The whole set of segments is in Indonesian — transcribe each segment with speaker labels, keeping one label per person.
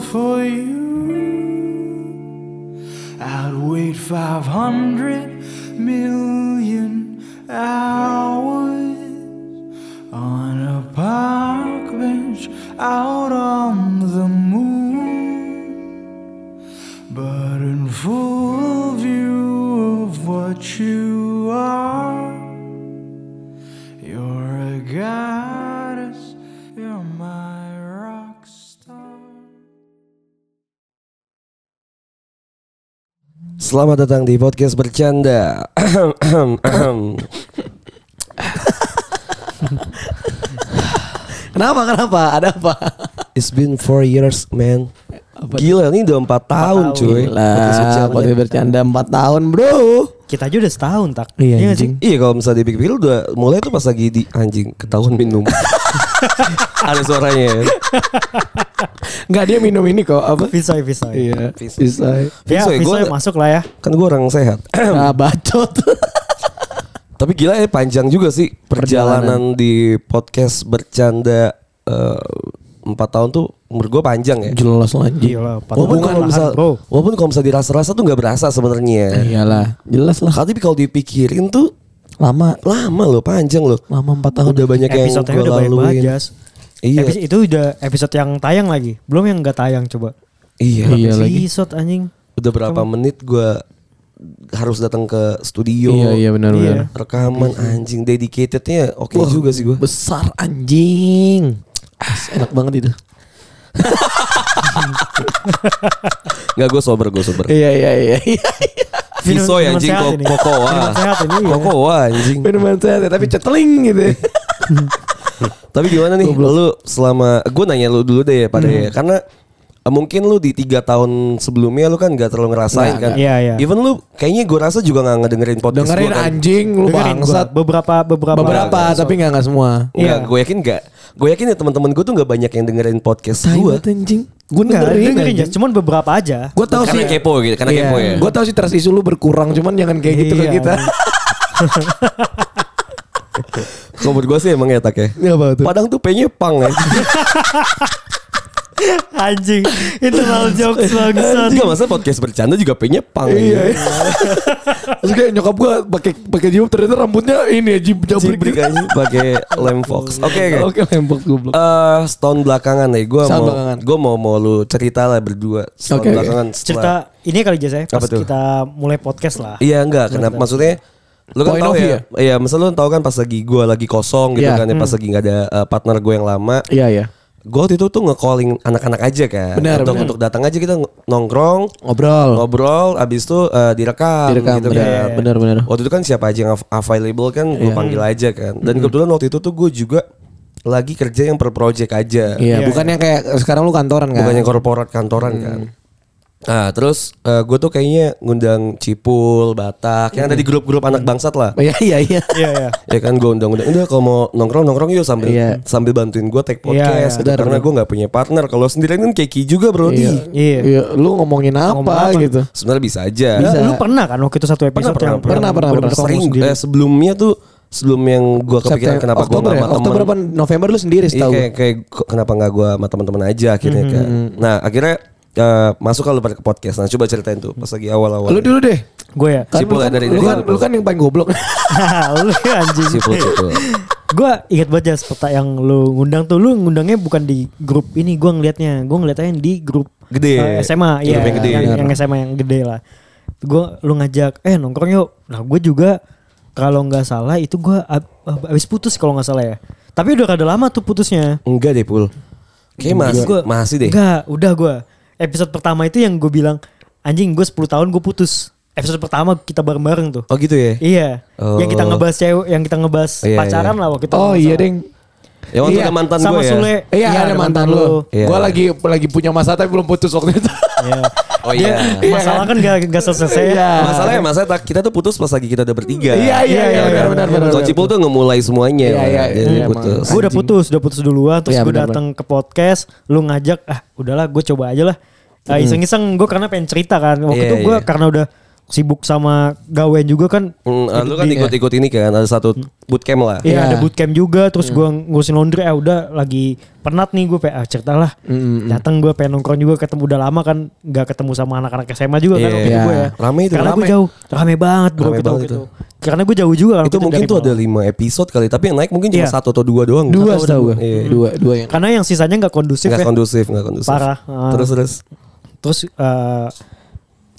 Speaker 1: for you. I'd wait 500 million hours on a park bench out on the moon, but in full view of what you are. You're a goddess, you're my rock star.
Speaker 2: Selamat datang di podcast bercanda.
Speaker 3: Kenapa kenapa? Ada apa?
Speaker 2: It's been four years, man. Gila, ini udah empat tahun, cuy. Podcast
Speaker 3: Lah,
Speaker 2: bercanda.
Speaker 3: podcast bercanda 4 tahun, Bro.
Speaker 4: Kita aja udah setahun tak.
Speaker 3: Iya,
Speaker 4: nggak sih?
Speaker 2: Iya, kalau misalnya dipikir-pikir udah mulai tuh pas lagi di anjing ketahuan minum. Ada suaranya. ya.
Speaker 3: Enggak dia minum ini kok apa?
Speaker 4: Visoy, Visoy.
Speaker 3: Iya,
Speaker 2: Pisau.
Speaker 3: pisau.
Speaker 4: Ya,
Speaker 2: Visoy,
Speaker 4: Visoy
Speaker 2: gua-
Speaker 4: masuk lah ya.
Speaker 2: Kan gue orang sehat.
Speaker 3: Ah, bacot.
Speaker 2: Tapi gila ya panjang juga sih perjalanan, di podcast bercanda eh, empat tahun tuh menurut gue panjang ya.
Speaker 3: Jelas lanjut.
Speaker 4: Gila, empat
Speaker 2: Walaupun
Speaker 4: tahun
Speaker 2: kalau
Speaker 4: kan lahan,
Speaker 2: misal,
Speaker 4: bro.
Speaker 2: walaupun kalau misal dirasa-rasa tuh nggak berasa
Speaker 4: Iya.
Speaker 2: sebenarnya.
Speaker 3: Iyalah, jelas lah.
Speaker 2: Kalau Tapi kalau dipikirin tuh
Speaker 3: Lama,
Speaker 2: lama loh, panjang loh.
Speaker 3: lama 4 tahun.
Speaker 2: Udah banyak yang
Speaker 4: Episode-nya
Speaker 2: gue
Speaker 4: udah banyak banget,
Speaker 2: laluin.
Speaker 4: Jas.
Speaker 2: Iya,
Speaker 4: Episode itu udah episode yang tayang lagi. Belum yang nggak tayang coba.
Speaker 2: iya.
Speaker 3: Iya
Speaker 4: Berapa
Speaker 3: lagi.
Speaker 4: Episode anjing.
Speaker 2: Udah berapa menit gue harus datang ke studio.
Speaker 3: Iya, iya benar benar.
Speaker 4: Iya.
Speaker 2: Rekaman anjing dedicatednya oke juga sih gue.
Speaker 3: Besar anjing. Enak banget itu.
Speaker 2: Nggak gue sober, gue sober.
Speaker 3: Iya, iya, iya. iya.
Speaker 4: Minum-
Speaker 2: Visoy
Speaker 4: minuman
Speaker 2: anjing
Speaker 4: sehat
Speaker 2: kok
Speaker 4: ini.
Speaker 2: kokoa.
Speaker 4: Minuman sehat ini, iya.
Speaker 2: Kokoa anjing.
Speaker 3: Minuman sehat ya, tapi ceteling gitu.
Speaker 2: Tapi gimana nih lu selama gue nanya lu dulu deh ya pada ya
Speaker 3: Hmm.
Speaker 2: karena eh, mungkin lu di tiga tahun sebelumnya lu kan gak terlalu ngerasain
Speaker 3: Nggak,
Speaker 2: kan.
Speaker 4: nggak. Iya, iya.
Speaker 2: Even lu kayaknya gue rasa juga gak ngedengerin podcast
Speaker 3: Dengerin
Speaker 2: gua kan.
Speaker 3: anjing lu
Speaker 4: Dengerin gua
Speaker 3: bangsat.
Speaker 4: beberapa beberapa
Speaker 3: Beberapa tapi enggak enggak semua.
Speaker 2: Nggak,
Speaker 4: Iya.
Speaker 2: gue yakin gak. Gue yakin ya teman-teman gue tuh gak banyak yang dengerin podcast
Speaker 3: Tai
Speaker 2: gue.
Speaker 3: banget, anjing. Gue
Speaker 4: Enggak,
Speaker 3: dengerin,
Speaker 4: dengerin
Speaker 3: anjing.
Speaker 4: Jas, cuman beberapa aja.
Speaker 3: Gue tahu
Speaker 2: Karena
Speaker 3: sih Iya.
Speaker 2: kepo gitu, karena kepo ya.
Speaker 3: Gue tahu sih trust isu lu berkurang, cuman jangan kayak gitu ke
Speaker 4: Iya,
Speaker 3: kita.
Speaker 2: Kalau menurut gue sih emang ya tak ya.
Speaker 3: Iya apa tuh?
Speaker 2: Padang tuh pengen pang ya.
Speaker 4: Anjing, internal jokes bangsat.
Speaker 2: Enggak masa podcast bercanda juga pengen pang. ya.
Speaker 3: Iya. iya. Terus kayak nyokap gue pakai pakai jilbab ternyata rambutnya ini ya, aja gitu.
Speaker 2: Cibrik aja pakai lem fox. Oke oke.
Speaker 3: Oke, lembok goblok.
Speaker 2: Eh setahun belakangan nih gue
Speaker 3: Setahun
Speaker 2: mau
Speaker 3: belakangan.
Speaker 2: gue mau mau lu cerita lah berdua setahun
Speaker 3: Oke, oke.
Speaker 2: belakangan setelah
Speaker 4: Cerita ini kali Jas ya, pas
Speaker 2: Apa tuh?
Speaker 4: kita mulai podcast lah.
Speaker 2: iya enggak kenapa maksudnya lu kan
Speaker 3: Point
Speaker 2: tahu
Speaker 3: of
Speaker 2: ya
Speaker 3: view
Speaker 2: iya masa lu tahu kan pas lagi gue lagi kosong gitu
Speaker 3: Iya.
Speaker 2: kan ya pas lagi nggak ada eh, partner gue yang lama
Speaker 3: Iya ya.
Speaker 2: gue waktu itu tuh nge-calling anak-anak aja kan
Speaker 3: Benar,
Speaker 2: untuk
Speaker 3: benar.
Speaker 2: untuk datang aja kita nongkrong
Speaker 3: Ngobrol.
Speaker 2: ngobrol abis itu eh, direkam,
Speaker 3: Oh. Direkam,
Speaker 2: gitu
Speaker 3: benar,
Speaker 2: kan.
Speaker 3: benar, benar.
Speaker 2: Waktu itu kan siapa aja yang av- available kan
Speaker 3: Iya.
Speaker 2: gue panggil aja kan. Dan kebetulan waktu itu tuh gue juga lagi kerja yang per project aja.
Speaker 3: Iya, bukan yang kayak sekarang lu kantoran kan? Mm.
Speaker 2: Bukan yang korporat kantoran kan. Nah, terus gue tuh kayaknya ngundang Cipul, Batak, yang ada di grup-grup anak bangsat lah.
Speaker 3: Mm. Iya, iya, iya.
Speaker 4: Iya, iya.
Speaker 2: ya kan gue undang-undang udah kalau mau nongkrong nongkrong yuk sambil
Speaker 3: Iya.
Speaker 2: sambil bantuin gue take podcast
Speaker 4: Iya, iya.
Speaker 2: gitu. karena gue nggak punya partner kalau sendirian kan keki juga bro
Speaker 3: Iya.
Speaker 2: Di.
Speaker 4: Iya.
Speaker 3: Iya, lu ngomongin apa,
Speaker 4: Ngomong apa?
Speaker 3: gitu?
Speaker 2: sebenarnya bisa aja
Speaker 4: Lu- Lu pernah kan waktu itu satu episode
Speaker 2: pernah,
Speaker 4: yang
Speaker 3: pernah, pernah,
Speaker 4: bener-bener
Speaker 3: pernah.
Speaker 4: kamu
Speaker 2: sering
Speaker 4: sendiri.
Speaker 2: eh, sebelumnya tuh sebelum yang gue kepikiran
Speaker 3: September,
Speaker 2: kenapa gue
Speaker 3: Oktober ya?
Speaker 2: sama temen
Speaker 3: Oktober apa November lu sendiri
Speaker 2: Iya
Speaker 3: setahu
Speaker 2: kayak, kayak kok kenapa nggak gue sama teman-teman aja akhirnya
Speaker 3: Hmm,
Speaker 2: kan. Nah akhirnya eh, masuk kalau pada ke podcast. Nah coba ceritain tuh pas lagi awal-awal.
Speaker 3: Lu dulu deh.
Speaker 4: Gue ya.
Speaker 2: Sipul
Speaker 3: lu kan,
Speaker 2: dari-
Speaker 3: lu
Speaker 2: dari
Speaker 3: kan,
Speaker 2: apa?
Speaker 3: lu kan yang paling goblok.
Speaker 4: lu anjing.
Speaker 2: Sipul, sipul.
Speaker 4: Gue ingat banget Jas, peta yang lu ngundang tuh lu ngundangnya bukan di grup ini gue ngelihatnya gue ngeliatnya di grup
Speaker 2: Gede.
Speaker 4: eh,
Speaker 2: Grup
Speaker 4: SMA ya
Speaker 2: yang
Speaker 4: yang,
Speaker 2: gede.
Speaker 4: yang SMA yang gede lah gue lu ngajak eh nongkrong yuk nah gue juga kalau nggak salah itu gue ab, ab- abis putus kalau nggak salah ya tapi udah rada lama tuh putusnya
Speaker 2: Enggak deh pul. Kayak masih
Speaker 4: Gua-
Speaker 2: masih deh.
Speaker 4: Enggak, udah gue episode pertama itu yang gue bilang anjing gue 10 tahun gue putus episode pertama kita bareng bareng tuh
Speaker 2: Oh gitu ya.
Speaker 4: Iya,
Speaker 2: Oh.
Speaker 4: yang kita ngebahas cewek, yang kita ngebahas
Speaker 2: Iya,
Speaker 4: pacaran
Speaker 2: iya.
Speaker 4: lah waktu itu.
Speaker 3: oh iya,
Speaker 4: deh
Speaker 3: Deng.
Speaker 2: Yang waktu
Speaker 3: Iya,
Speaker 2: ada mantan
Speaker 4: sama
Speaker 2: gue ya.
Speaker 4: Sule.
Speaker 3: Iya, ada mantan lu.
Speaker 2: Iya.
Speaker 3: Gua lagi lagi punya masa tapi belum putus waktu itu.
Speaker 4: Iya.
Speaker 2: Oh iya.
Speaker 3: Iya,
Speaker 4: Masalah kan gak, gak selesai
Speaker 3: Iya.
Speaker 4: ya.
Speaker 2: Masalahnya masalah tak- kita tuh putus pas lagi kita udah bertiga. kan?
Speaker 3: Iya, iya, iya, benar, benar, benar.
Speaker 2: Kalau Cipul tuh ngemulai semuanya.
Speaker 3: Iya, iya,
Speaker 2: Jadi
Speaker 3: iya, emang.
Speaker 2: putus.
Speaker 4: Gue udah putus, udah putus duluan. Terus
Speaker 3: Iya,
Speaker 4: gue
Speaker 3: benar,
Speaker 4: datang ke podcast, lu ngajak, ah udahlah gue coba aja lah. Ah, Iseng-iseng gue karena pengen cerita kan. Waktu
Speaker 2: Iya,
Speaker 4: itu gue
Speaker 2: iya.
Speaker 4: karena udah sibuk sama gawean juga kan.
Speaker 2: Hmm, ah, lu kan
Speaker 4: di-
Speaker 2: ikut-ikut ini kan ada satu bootcamp lah.
Speaker 4: Iya
Speaker 3: Iya.
Speaker 4: ada bootcamp juga
Speaker 2: Mm.
Speaker 4: terus gua ngurusin laundry ah udah lagi penat nih "Ah, gue PA cerita lah datang gue pengen nongkrong juga ketemu udah lama kan nggak ketemu sama anak-anak SMA juga kan
Speaker 2: Iya.
Speaker 4: waktu itu gua ya
Speaker 2: Rame itu,
Speaker 4: karena gue
Speaker 2: rame.
Speaker 4: jauh rame banget bro
Speaker 2: Rame
Speaker 4: kita
Speaker 2: banget
Speaker 4: waktu itu. karena gue jauh juga kan
Speaker 2: Itu
Speaker 4: waktu
Speaker 2: mungkin
Speaker 4: dari
Speaker 2: tuh ada
Speaker 4: Malang.
Speaker 2: lima episode kali, tapi yang naik mungkin cuma
Speaker 4: Iya.
Speaker 2: satu atau dua doang.
Speaker 3: Dua
Speaker 2: Atau
Speaker 3: setahu gue.
Speaker 2: Iya.
Speaker 3: Dua, dua yang.
Speaker 4: karena yang sisanya nggak kondusif
Speaker 2: Nggak
Speaker 4: ya.
Speaker 2: kondusif, nggak kondusif.
Speaker 4: Parah, ah.
Speaker 2: Terus terus.
Speaker 4: terus eh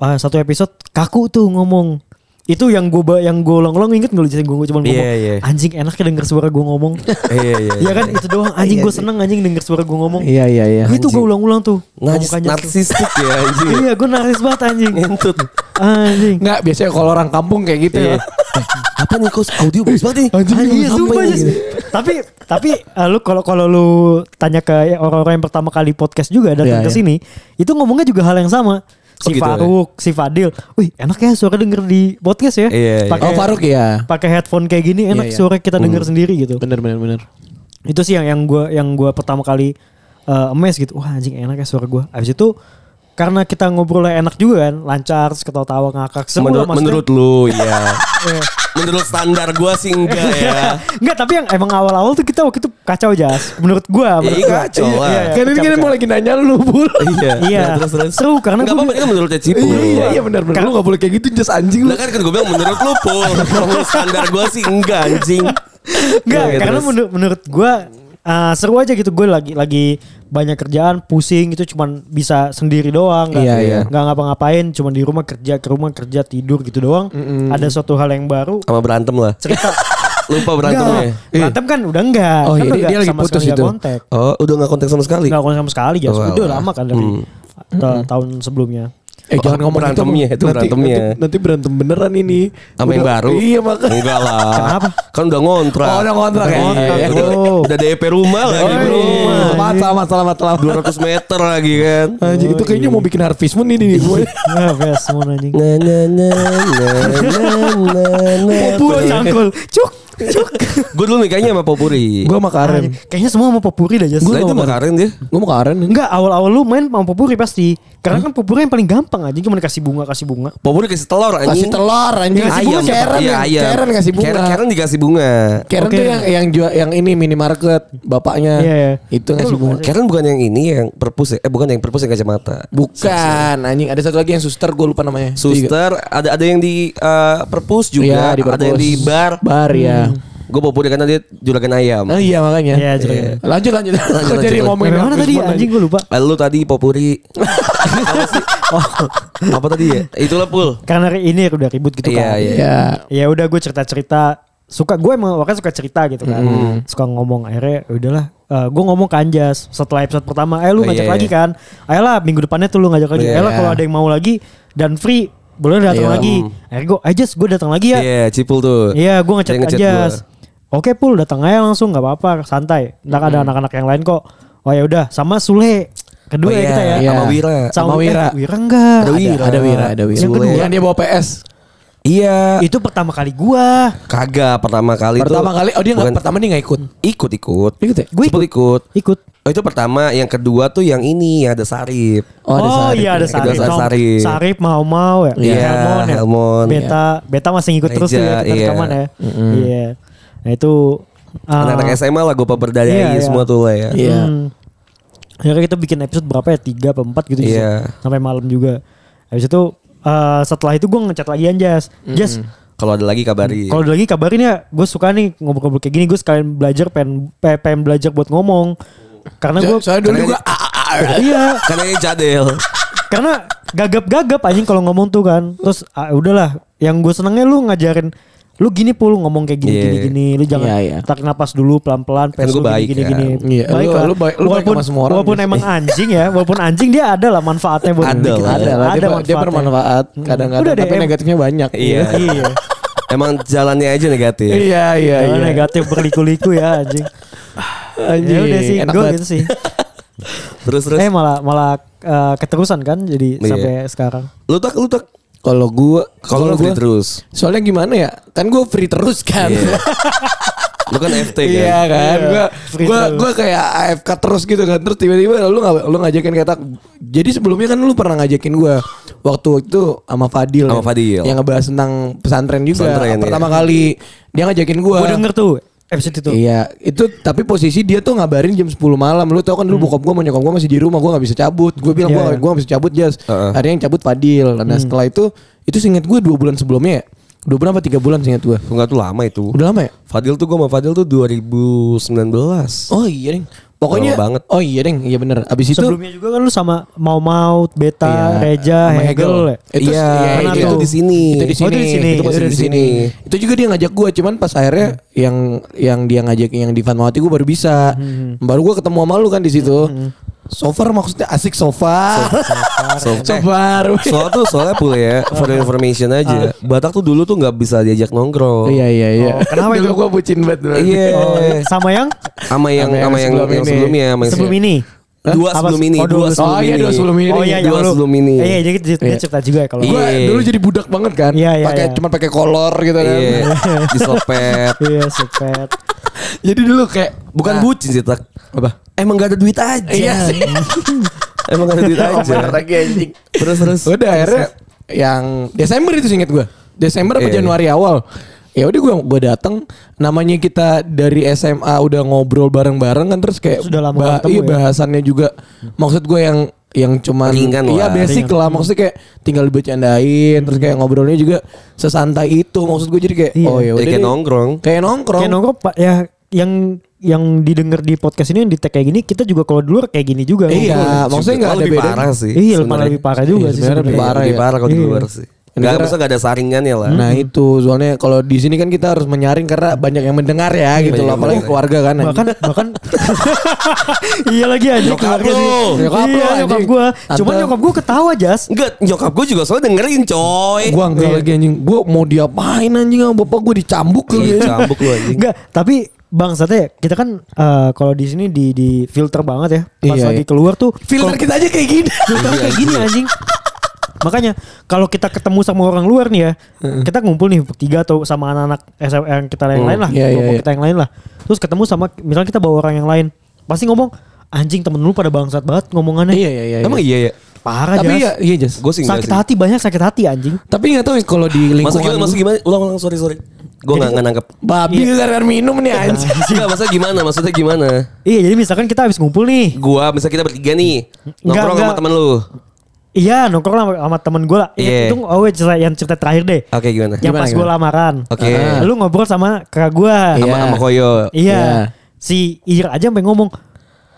Speaker 4: ah, satu episode kaku tuh ngomong itu yang gue yang gue ulang-ulang inget gak lu gue cuma ngomong
Speaker 2: Iya, iya.
Speaker 4: anjing enak ya denger suara gue ngomong
Speaker 2: Iya iya.
Speaker 4: Iya kan itu doang anjing gue seneng anjing denger suara gue ngomong
Speaker 3: Iya iya iya.
Speaker 4: itu gue ulang-ulang tuh
Speaker 2: Najis,
Speaker 4: Omongannya tuh.
Speaker 2: narsistik ya anjing. Iya.
Speaker 4: iya gue narsis banget anjing
Speaker 2: Ngentut.
Speaker 4: anjing
Speaker 3: Enggak biasanya kalau orang kampung kayak gitu ya.
Speaker 2: Iya. Apa nih kos audio bagus banget nih.
Speaker 4: Anjing, iya,
Speaker 2: apa
Speaker 4: sumpah,
Speaker 2: ini?
Speaker 4: Jess. tapi tapi eh, lu kalau kalau lu tanya ke ya, orang-orang yang pertama kali podcast juga datang
Speaker 3: Iya,
Speaker 4: ke
Speaker 3: iya.
Speaker 4: sini itu ngomongnya juga hal yang sama
Speaker 2: Oh,
Speaker 4: si
Speaker 2: gitu,
Speaker 4: Faruk si Fadil wih enak ya suara denger di podcast ya
Speaker 2: Iya, iya.
Speaker 4: pakai
Speaker 3: Oh Faruk ya.
Speaker 4: pakai headphone kayak gini enak
Speaker 3: Iya, iya.
Speaker 4: suara kita denger sendiri gitu
Speaker 3: Bener bener bener.
Speaker 4: itu sih yang yang gue yang gua pertama kali eh, amazed gitu wah anjing enak ya suara gue abis itu karena kita ngobrolnya enak juga kan lancar terus ketawa-tawa ngakak semua
Speaker 2: Menurut,
Speaker 4: maksudnya. Iya.
Speaker 2: menurut lu ya. menurut standar gua sih enggak ya.
Speaker 4: Enggak Iya. tapi yang emang awal-awal tuh kita waktu itu kacau jas Menurut
Speaker 2: Iya,
Speaker 4: gua menurut gua.
Speaker 2: kacau lah.
Speaker 3: Kan
Speaker 4: Iya, iya,
Speaker 3: ini
Speaker 4: kacau,
Speaker 3: kan
Speaker 4: kacau.
Speaker 3: mau lagi nanya lu bul.
Speaker 2: Iya.
Speaker 4: Iya.
Speaker 2: Nah, terus terus.
Speaker 4: Seru, karena
Speaker 2: Enggak
Speaker 4: gua-
Speaker 2: apa-apa itu menurut Cipu.
Speaker 3: Iya iya bener bener. Lu gak boleh kayak gitu just anjing
Speaker 4: iya.
Speaker 3: lu.
Speaker 2: Lah kan kan gue bilang menurut lu pul Menurut standar gue sih enggak anjing
Speaker 4: Enggak
Speaker 2: Oke,
Speaker 4: karena
Speaker 2: terus.
Speaker 4: menurut, menurut gua eh, seru aja gitu gue lagi lagi banyak kerjaan pusing gitu cuman bisa sendiri doang nggak
Speaker 3: Iya, iya.
Speaker 4: nggak ngapa-ngapain cuman di rumah kerja ke rumah kerja tidur gitu doang ada suatu hal yang baru
Speaker 2: Sama berantem lah
Speaker 4: cerita
Speaker 2: Lupa
Speaker 4: Enggak,
Speaker 2: berantemnya
Speaker 4: berantem kan udah enggak
Speaker 3: Oh, iya,
Speaker 4: kan udah
Speaker 3: dia-
Speaker 4: enggak
Speaker 3: dia lagi
Speaker 4: sama
Speaker 3: putus
Speaker 4: sekali enggak
Speaker 3: itu.
Speaker 4: kontak
Speaker 2: Oh udah gak kontak sama sekali
Speaker 4: enggak kontak sama sekali jas
Speaker 2: Oh,
Speaker 4: udah
Speaker 2: alah.
Speaker 4: lama kan dari ta- tahun sebelumnya
Speaker 3: Eh jangan
Speaker 2: Oh,
Speaker 3: ngomong
Speaker 2: berantemnya, itu
Speaker 3: gitu. Nanti-
Speaker 2: berantemnya.
Speaker 3: Nanti, nanti berantem beneran ini.
Speaker 2: Sama yang
Speaker 3: Udah-
Speaker 2: baru
Speaker 3: Iya makanya.
Speaker 2: Enggak lah
Speaker 4: Kenapa?
Speaker 2: Kan udah ngontrak
Speaker 3: Oh, udah ngontrak ya?
Speaker 2: Iya,
Speaker 3: Iya,
Speaker 2: Udah,
Speaker 4: bro.
Speaker 2: udah DP rumah lagi
Speaker 3: Iya,
Speaker 2: bro
Speaker 4: rumah.
Speaker 3: Selamat selamat selamat selamat.
Speaker 2: 200 meter lagi kan
Speaker 3: Anjing itu kayaknya mau bikin Harvest Moon ini nih gue.
Speaker 4: ya bes mau anjing
Speaker 2: Na na na na nah. na na
Speaker 4: Popuri cangkul cuk cuk
Speaker 2: Gue dulu nikahnya sama Popuri
Speaker 3: Gue sama Karen.
Speaker 4: kayaknya semua mau popuri dah jas
Speaker 2: Lah itu
Speaker 3: kan.
Speaker 2: sama Karen dia
Speaker 3: Gue mau Karen.
Speaker 4: enggak awal-awal lu main mau popuri pasti karena kan popuri yang paling gampang aja cuma kasih bunga kasih bunga
Speaker 2: Popuri kasih telur anjing
Speaker 3: Kasih telur anjing.
Speaker 2: Kasih bunga
Speaker 3: Karen.
Speaker 2: Iya, ayam.
Speaker 3: Karen kasih bunga.
Speaker 2: Karen, Karen dikasih bunga
Speaker 3: Karen
Speaker 4: Oke.
Speaker 3: tuh yang yang jual yang ini minimarket bapaknya
Speaker 4: Iya, iya.
Speaker 3: itu ngasih bunga.
Speaker 2: Karen bukan yang ini yang perpus ya Eh bukan yang perpus yang kacamata
Speaker 3: Bukan anjing ada satu lagi yang suster gue lupa namanya.
Speaker 2: Suster ada ada yang di eh, perpus juga,
Speaker 3: Iya, di
Speaker 2: ada yang
Speaker 3: perpus.
Speaker 2: di bar. Hmm.
Speaker 3: Bar ya.
Speaker 2: Gue populi karena dia juragan ayam.
Speaker 3: Ah, iya makanya.
Speaker 4: Iya, juragan.
Speaker 3: Iya. Lanjut lanjut. Kok
Speaker 2: lanjut,
Speaker 3: jadi
Speaker 2: lanjut.
Speaker 3: ngomongin
Speaker 4: Yang mana
Speaker 3: Harvest
Speaker 4: tadi
Speaker 3: Moon
Speaker 4: anjing
Speaker 3: aja?
Speaker 4: gue lupa
Speaker 2: Lalu Eh, tadi popuri. Apa sih? Oh, apa tadi ya? Itulah pul.
Speaker 4: karena ini udah ribut gitu
Speaker 2: Iya,
Speaker 4: kan
Speaker 2: iya.
Speaker 3: Iya.
Speaker 4: ya udah gue cerita cerita suka gue emang orangnya suka cerita gitu kan
Speaker 2: Hmm.
Speaker 4: suka ngomong akhirnya "Ya udahlah Eh, gue ngomong ke Anjas setelah episode pertama eh
Speaker 2: Oh,
Speaker 4: lu ngajak
Speaker 2: iya,
Speaker 4: lagi
Speaker 2: iya.
Speaker 4: kan ayolah minggu depannya tuh lu ngajak lagi
Speaker 2: Iya.
Speaker 4: ayolah kalau ada yang mau lagi dan free boleh
Speaker 3: Ayo.
Speaker 4: datang lagi akhirnya gue Anjas gue datang lagi ya
Speaker 2: Hmm. Iya, cipul tuh.
Speaker 4: Iya, gue ngechat
Speaker 2: Dia ngechat
Speaker 4: aja.
Speaker 2: gua.
Speaker 4: Oke, pul datang aja langsung nggak apa-apa, santai.
Speaker 2: Hmm.
Speaker 4: Ntar ada anak-anak yang lain kok. Oh ya udah, sama Sule. Kedua
Speaker 2: Oh,
Speaker 4: ya
Speaker 2: iya,
Speaker 4: kita ya.
Speaker 2: Sama Wira.
Speaker 3: Sama Wira.
Speaker 4: Eh, Wira enggak.
Speaker 2: Ada Wira.
Speaker 3: Ada Wira, ada Wira.
Speaker 4: Yang kedua.
Speaker 3: Yang dia bawa PS.
Speaker 2: Iya.
Speaker 4: Itu pertama kali gua.
Speaker 2: Kagak pertama kali tuh.
Speaker 3: Pertama kali oh dia
Speaker 2: bukan-
Speaker 3: nggak pertama dia nggak ikut.
Speaker 2: ikut-ikut.
Speaker 3: Ikut ya?
Speaker 4: Gua
Speaker 2: Cipul ikut.
Speaker 4: Ikut.
Speaker 2: Oh, itu pertama, yang kedua tuh yang ini yang ada Sarip.
Speaker 3: Oh, ada Sarip.
Speaker 4: iya ada
Speaker 2: Kedua
Speaker 4: Sarip.
Speaker 2: ada Sarip.
Speaker 4: Sarip mau mau ya.
Speaker 2: Iya,
Speaker 4: Helmon ya.
Speaker 2: Helmon.
Speaker 4: Beta, Beta masih ngikut terus tuh
Speaker 2: Reja,
Speaker 4: ya kita
Speaker 2: iya.
Speaker 4: rekaman ya. Iya. Nah itu ah,
Speaker 2: Anak-anak SMA lah gue
Speaker 4: Iya,
Speaker 2: pemberdayai
Speaker 4: iya.
Speaker 2: semua tuh lah ya.
Speaker 3: Iya.
Speaker 4: Hmm. Akhirnya kita bikin episode berapa ya? Tiga apa empat gitu. Jess.
Speaker 2: Iya.
Speaker 4: Sampai malam juga. Habis itu eh, setelah itu gue ngechat lagi Anjas. Jas,
Speaker 2: Kalau ada lagi kabari.
Speaker 4: kalau ada lagi kabarin ya. Gue suka nih ngobrol-ngobrol kayak gini. Gue sekalian belajar pengen, pe- pengen belajar buat ngomong. Karena gue
Speaker 3: Soalnya dulu gue
Speaker 4: iya,
Speaker 2: Karena ini cadel.
Speaker 4: karena gagap-gagap anjing kalau ngomong tuh kan. Terus ah, udahlah, yang gue senengnya lu ngajarin lu gini pul ngomong kayak gini
Speaker 2: Iya.
Speaker 4: gini gini lu jangan
Speaker 3: Iya, iya.
Speaker 4: tarik napas dulu pelan-pelan
Speaker 2: gua
Speaker 4: pes lu
Speaker 2: baik
Speaker 4: gini gini,
Speaker 2: kan.
Speaker 4: gini.
Speaker 3: Iya, lu-
Speaker 4: lah.
Speaker 3: lu baik- lu baik
Speaker 4: walaupun
Speaker 3: sama semua orang
Speaker 4: walaupun
Speaker 3: biasanya.
Speaker 4: emang anjing ya walaupun anjing dia ada lah manfaatnya buat
Speaker 2: Ada
Speaker 4: bikin-
Speaker 2: lah. ya.
Speaker 3: ada lah dia, dia
Speaker 4: manfaatnya. Hmm.
Speaker 3: bermanfaat
Speaker 4: Udah
Speaker 3: kadang-kadang
Speaker 4: deh,
Speaker 3: tapi
Speaker 4: em-
Speaker 3: negatifnya banyak.
Speaker 2: Iya.
Speaker 4: iya
Speaker 2: Emang jalannya aja negatif.
Speaker 3: Iya iya
Speaker 4: Jangan
Speaker 3: iya.
Speaker 4: Ah, negatif berliku-liku ya anjing ya
Speaker 3: Anjing,
Speaker 4: udah sih
Speaker 3: Ah, iya, enak
Speaker 4: gue
Speaker 3: banget.
Speaker 4: gitu sih
Speaker 2: Terus terus.
Speaker 4: eh malah malah eh, keterusan kan jadi
Speaker 2: Iya.
Speaker 4: sampai sekarang
Speaker 2: Lu tak lu tak.
Speaker 3: Kalau gue
Speaker 2: Kalau lu free terus.
Speaker 3: Soalnya gimana ya? Kan gue free terus kan.
Speaker 2: Iya. Lu kan FT kan.
Speaker 3: Iya kan,
Speaker 4: Iya,
Speaker 3: gua
Speaker 4: free
Speaker 3: gua
Speaker 4: throw.
Speaker 3: gua kayak AFK terus gitu kan. Terus tiba-tiba lu nggak- lu ngajakin kata jadi sebelumnya kan lu pernah ngajakin gua waktu itu sama Fadil.
Speaker 2: Sama
Speaker 3: kan?
Speaker 2: Fadil.
Speaker 3: Yang ngebahas tentang pesantren juga.
Speaker 2: Pesantren,
Speaker 3: Pertama
Speaker 2: iya.
Speaker 3: kali dia ngajakin gua.
Speaker 4: Gue denger tuh episode itu.
Speaker 3: Iya, itu tapi posisi dia tuh ngabarin jam 10 malam. Lu tau kan
Speaker 2: Hmm.
Speaker 3: dulu bokap gua sama nyokap gua masih di rumah, gua nggak bisa cabut. Gua bilang
Speaker 4: Iya,
Speaker 3: gua
Speaker 4: iya.
Speaker 3: gua nggak bisa cabut, Jas.
Speaker 2: Heeh. Hmm.
Speaker 3: Akhirnya yang cabut Fadil. Nah, setelah itu itu singkat gua dua bulan sebelumnya ya. Dua bulan apa tiga bulan singkat gua.
Speaker 2: Enggak tuh lama itu.
Speaker 3: Udah lama ya?
Speaker 2: Fadil tuh gue sama Fadil tuh 2019.
Speaker 3: Oh iya, Ding. Pokoknya
Speaker 2: Lama banget.
Speaker 3: Oh iya, Ding. Iya bener Abis itu
Speaker 4: Sebelumnya juga kan lu sama Mau Mau, Beta,
Speaker 3: Iya,
Speaker 4: Reja,
Speaker 3: sama
Speaker 4: Hegel. ya?
Speaker 3: Itu
Speaker 2: Iya,
Speaker 3: iya,
Speaker 4: itu
Speaker 3: itu.
Speaker 4: di
Speaker 2: sini.
Speaker 3: Itu di
Speaker 4: Oh,
Speaker 3: sini.
Speaker 4: itu di sini.
Speaker 3: Itu posisi
Speaker 2: Itu
Speaker 3: di
Speaker 2: di
Speaker 3: sini.
Speaker 2: sini.
Speaker 3: Itu juga dia ngajak gua, cuman pas akhirnya yang yang dia ngajak yang di Fatmawati gua baru bisa.
Speaker 4: Hmm.
Speaker 3: Baru gua ketemu sama lu kan di situ. Sofar maksudnya asik sofa.
Speaker 4: Eh,
Speaker 2: Sofa.
Speaker 3: Sofar.
Speaker 2: Soalnya tuh soalnya pula ya for your information aja. Batak tuh dulu tuh nggak bisa diajak nongkrong.
Speaker 3: Iya iya iya.
Speaker 4: Oh, kenapa itu?
Speaker 3: Dulu gua bucin banget. berarti.
Speaker 2: Iya.
Speaker 4: Oh, sama yang
Speaker 2: Sama yang
Speaker 3: Sama yang
Speaker 2: sama yang yang
Speaker 3: sebelum ini.
Speaker 2: sebelumnya sama yang
Speaker 4: sebelum
Speaker 2: sebelumnya.
Speaker 4: ini.
Speaker 2: Dua
Speaker 4: Apa-
Speaker 2: sebelum ini,
Speaker 4: oh, dua
Speaker 2: dua
Speaker 3: Oh
Speaker 2: sebelum
Speaker 3: iya dua
Speaker 2: ini.
Speaker 3: sebelum ini.
Speaker 4: Oh iya, yang
Speaker 2: Dua
Speaker 4: lu-
Speaker 2: sebelum ini.
Speaker 4: Iya, jadi dia, dia
Speaker 3: Iya.
Speaker 4: cerita juga ya kalau.
Speaker 3: Gua
Speaker 2: Iya.
Speaker 3: dulu jadi budak banget kan.
Speaker 4: Iya, iya,
Speaker 3: Pakai
Speaker 4: iya.
Speaker 3: cuman pakai kolor gitu kan.
Speaker 2: Iya, diselpet.
Speaker 4: Iya, sepet.
Speaker 3: Jadi dulu kayak
Speaker 2: Bukan
Speaker 3: Nah,
Speaker 2: bucin sih, Tak.
Speaker 3: apa?
Speaker 2: Emang gak ada duit aja.
Speaker 3: Iya sih.
Speaker 2: Emang gak ada duit aja.
Speaker 3: Bener lagi anjing.
Speaker 2: terus terus.
Speaker 3: Udah akhirnya yang Desember itu singkat gue. Desember apa
Speaker 2: Iya,
Speaker 3: Januari awal. Ya udah gue gue datang namanya kita dari SMA udah ngobrol bareng-bareng kan terus kayak
Speaker 4: Sudah lama nggak ketemu
Speaker 3: iya,
Speaker 4: ya?
Speaker 3: bahasannya juga maksud gue yang yang cuman
Speaker 2: Ringan
Speaker 3: iya
Speaker 2: lah.
Speaker 3: basic lah maksudnya kayak tinggal dibecandain terus kayak ngobrolnya juga sesantai itu maksud gue jadi kayak
Speaker 4: Iya.
Speaker 3: oh ya udah
Speaker 2: Jadi kayak
Speaker 3: deh.
Speaker 2: nongkrong.
Speaker 3: kayak nongkrong
Speaker 4: Kayak nongkrong Pak, ya yang yang didengar di podcast ini yang di tag kayak gini kita juga kalau dulu kayak gini juga.
Speaker 2: Maksudnya
Speaker 3: iya maksudnya nggak ada
Speaker 2: lebih
Speaker 3: bedanya
Speaker 2: parah sih.
Speaker 4: Iya,
Speaker 2: sebenarnya.
Speaker 4: malah lebih parah juga
Speaker 3: Iya,
Speaker 4: sih.
Speaker 3: sebenarnya lebih
Speaker 4: sebenarnya.
Speaker 3: parah
Speaker 2: Lebih
Speaker 3: ya.
Speaker 2: parah kalau di
Speaker 4: Iya.
Speaker 2: luar sih. Gak,
Speaker 3: Ini karena-
Speaker 2: maksudnya gak ada saringannya lah.
Speaker 3: Nah itu soalnya kalau di sini kan kita harus menyaring karena banyak yang mendengar ya gitu
Speaker 2: banyak
Speaker 3: loh
Speaker 2: yang
Speaker 3: apalagi
Speaker 2: mendengar.
Speaker 3: keluarga kan. anjing.
Speaker 4: bahkan bahkan iya lagi aja
Speaker 2: Nyokap
Speaker 4: keluarga
Speaker 2: lu.
Speaker 4: sih.
Speaker 3: Nyokap lu,
Speaker 4: iya, nyokap
Speaker 3: anjing.
Speaker 4: gua
Speaker 3: Tante.
Speaker 4: cuman nyokap gua ketawa jas
Speaker 2: Enggak, nyokap gue juga soalnya dengerin coy.
Speaker 3: Gua enggak lagi anjing. Gua mau diapain anjing sama bapak gua dicambuk kali.
Speaker 2: Ih,
Speaker 3: ya.
Speaker 2: Cambuk lu anjing.
Speaker 4: enggak tapi bang ya kita kan eh, kalau di sini di di filter banget ya pas
Speaker 3: Iya,
Speaker 4: lagi
Speaker 3: iya.
Speaker 4: keluar tuh
Speaker 3: Filter
Speaker 4: kalau-
Speaker 3: kita aja kayak gini.
Speaker 4: filternya kayak gini anjing makanya kalau kita ketemu sama orang luar nih ya kita ngumpul nih bertiga atau sama anak-anak SM yang kita yang lain lah
Speaker 3: Iya, iya,
Speaker 4: kelompok
Speaker 3: iya.
Speaker 4: kita yang lain lah terus ketemu sama misalnya kita bawa orang yang lain pasti ngomong anjing temen lu pada bangsat banget ngomongannya
Speaker 3: Iya iya iya.
Speaker 2: Emang iya ya.
Speaker 4: parah
Speaker 3: Tapi
Speaker 4: jas
Speaker 3: iya iya Jas.
Speaker 2: Gue sih enggak
Speaker 4: sakit
Speaker 2: sih.
Speaker 4: hati banyak sakit hati anjing
Speaker 3: Tapi enggak tahu ya, kalau di
Speaker 2: Maksud gimana?
Speaker 3: lingkungan
Speaker 2: Maksud gimana? Ulang ulang sorry sorry. Gue nggak nggak nangkep.
Speaker 3: babi gara-gara minum nih
Speaker 2: Iya.
Speaker 3: anjing.
Speaker 2: Enggak, maksudnya gimana? Maksudnya gimana?
Speaker 4: Iya jadi misalkan kita habis ngumpul nih
Speaker 2: Gua misalnya kita bertiga nih nongkrong sama
Speaker 4: enggak.
Speaker 2: temen lu.
Speaker 4: Iya nongkrong sama, sama temen gue lah Iya,
Speaker 2: Iya.
Speaker 4: Itu oh, wait, cerita- yang cerita terakhir deh
Speaker 2: Oke gimana?
Speaker 4: Yang
Speaker 3: Gimana,
Speaker 4: pas gue
Speaker 3: gimana?
Speaker 4: lamaran
Speaker 2: Oke.
Speaker 4: Ah. Lu ngobrol sama kakak gue
Speaker 2: Sama
Speaker 3: Iya.
Speaker 2: sama Koyo.
Speaker 4: Iya
Speaker 3: Iya.
Speaker 4: Si Ir aja sampai ngomong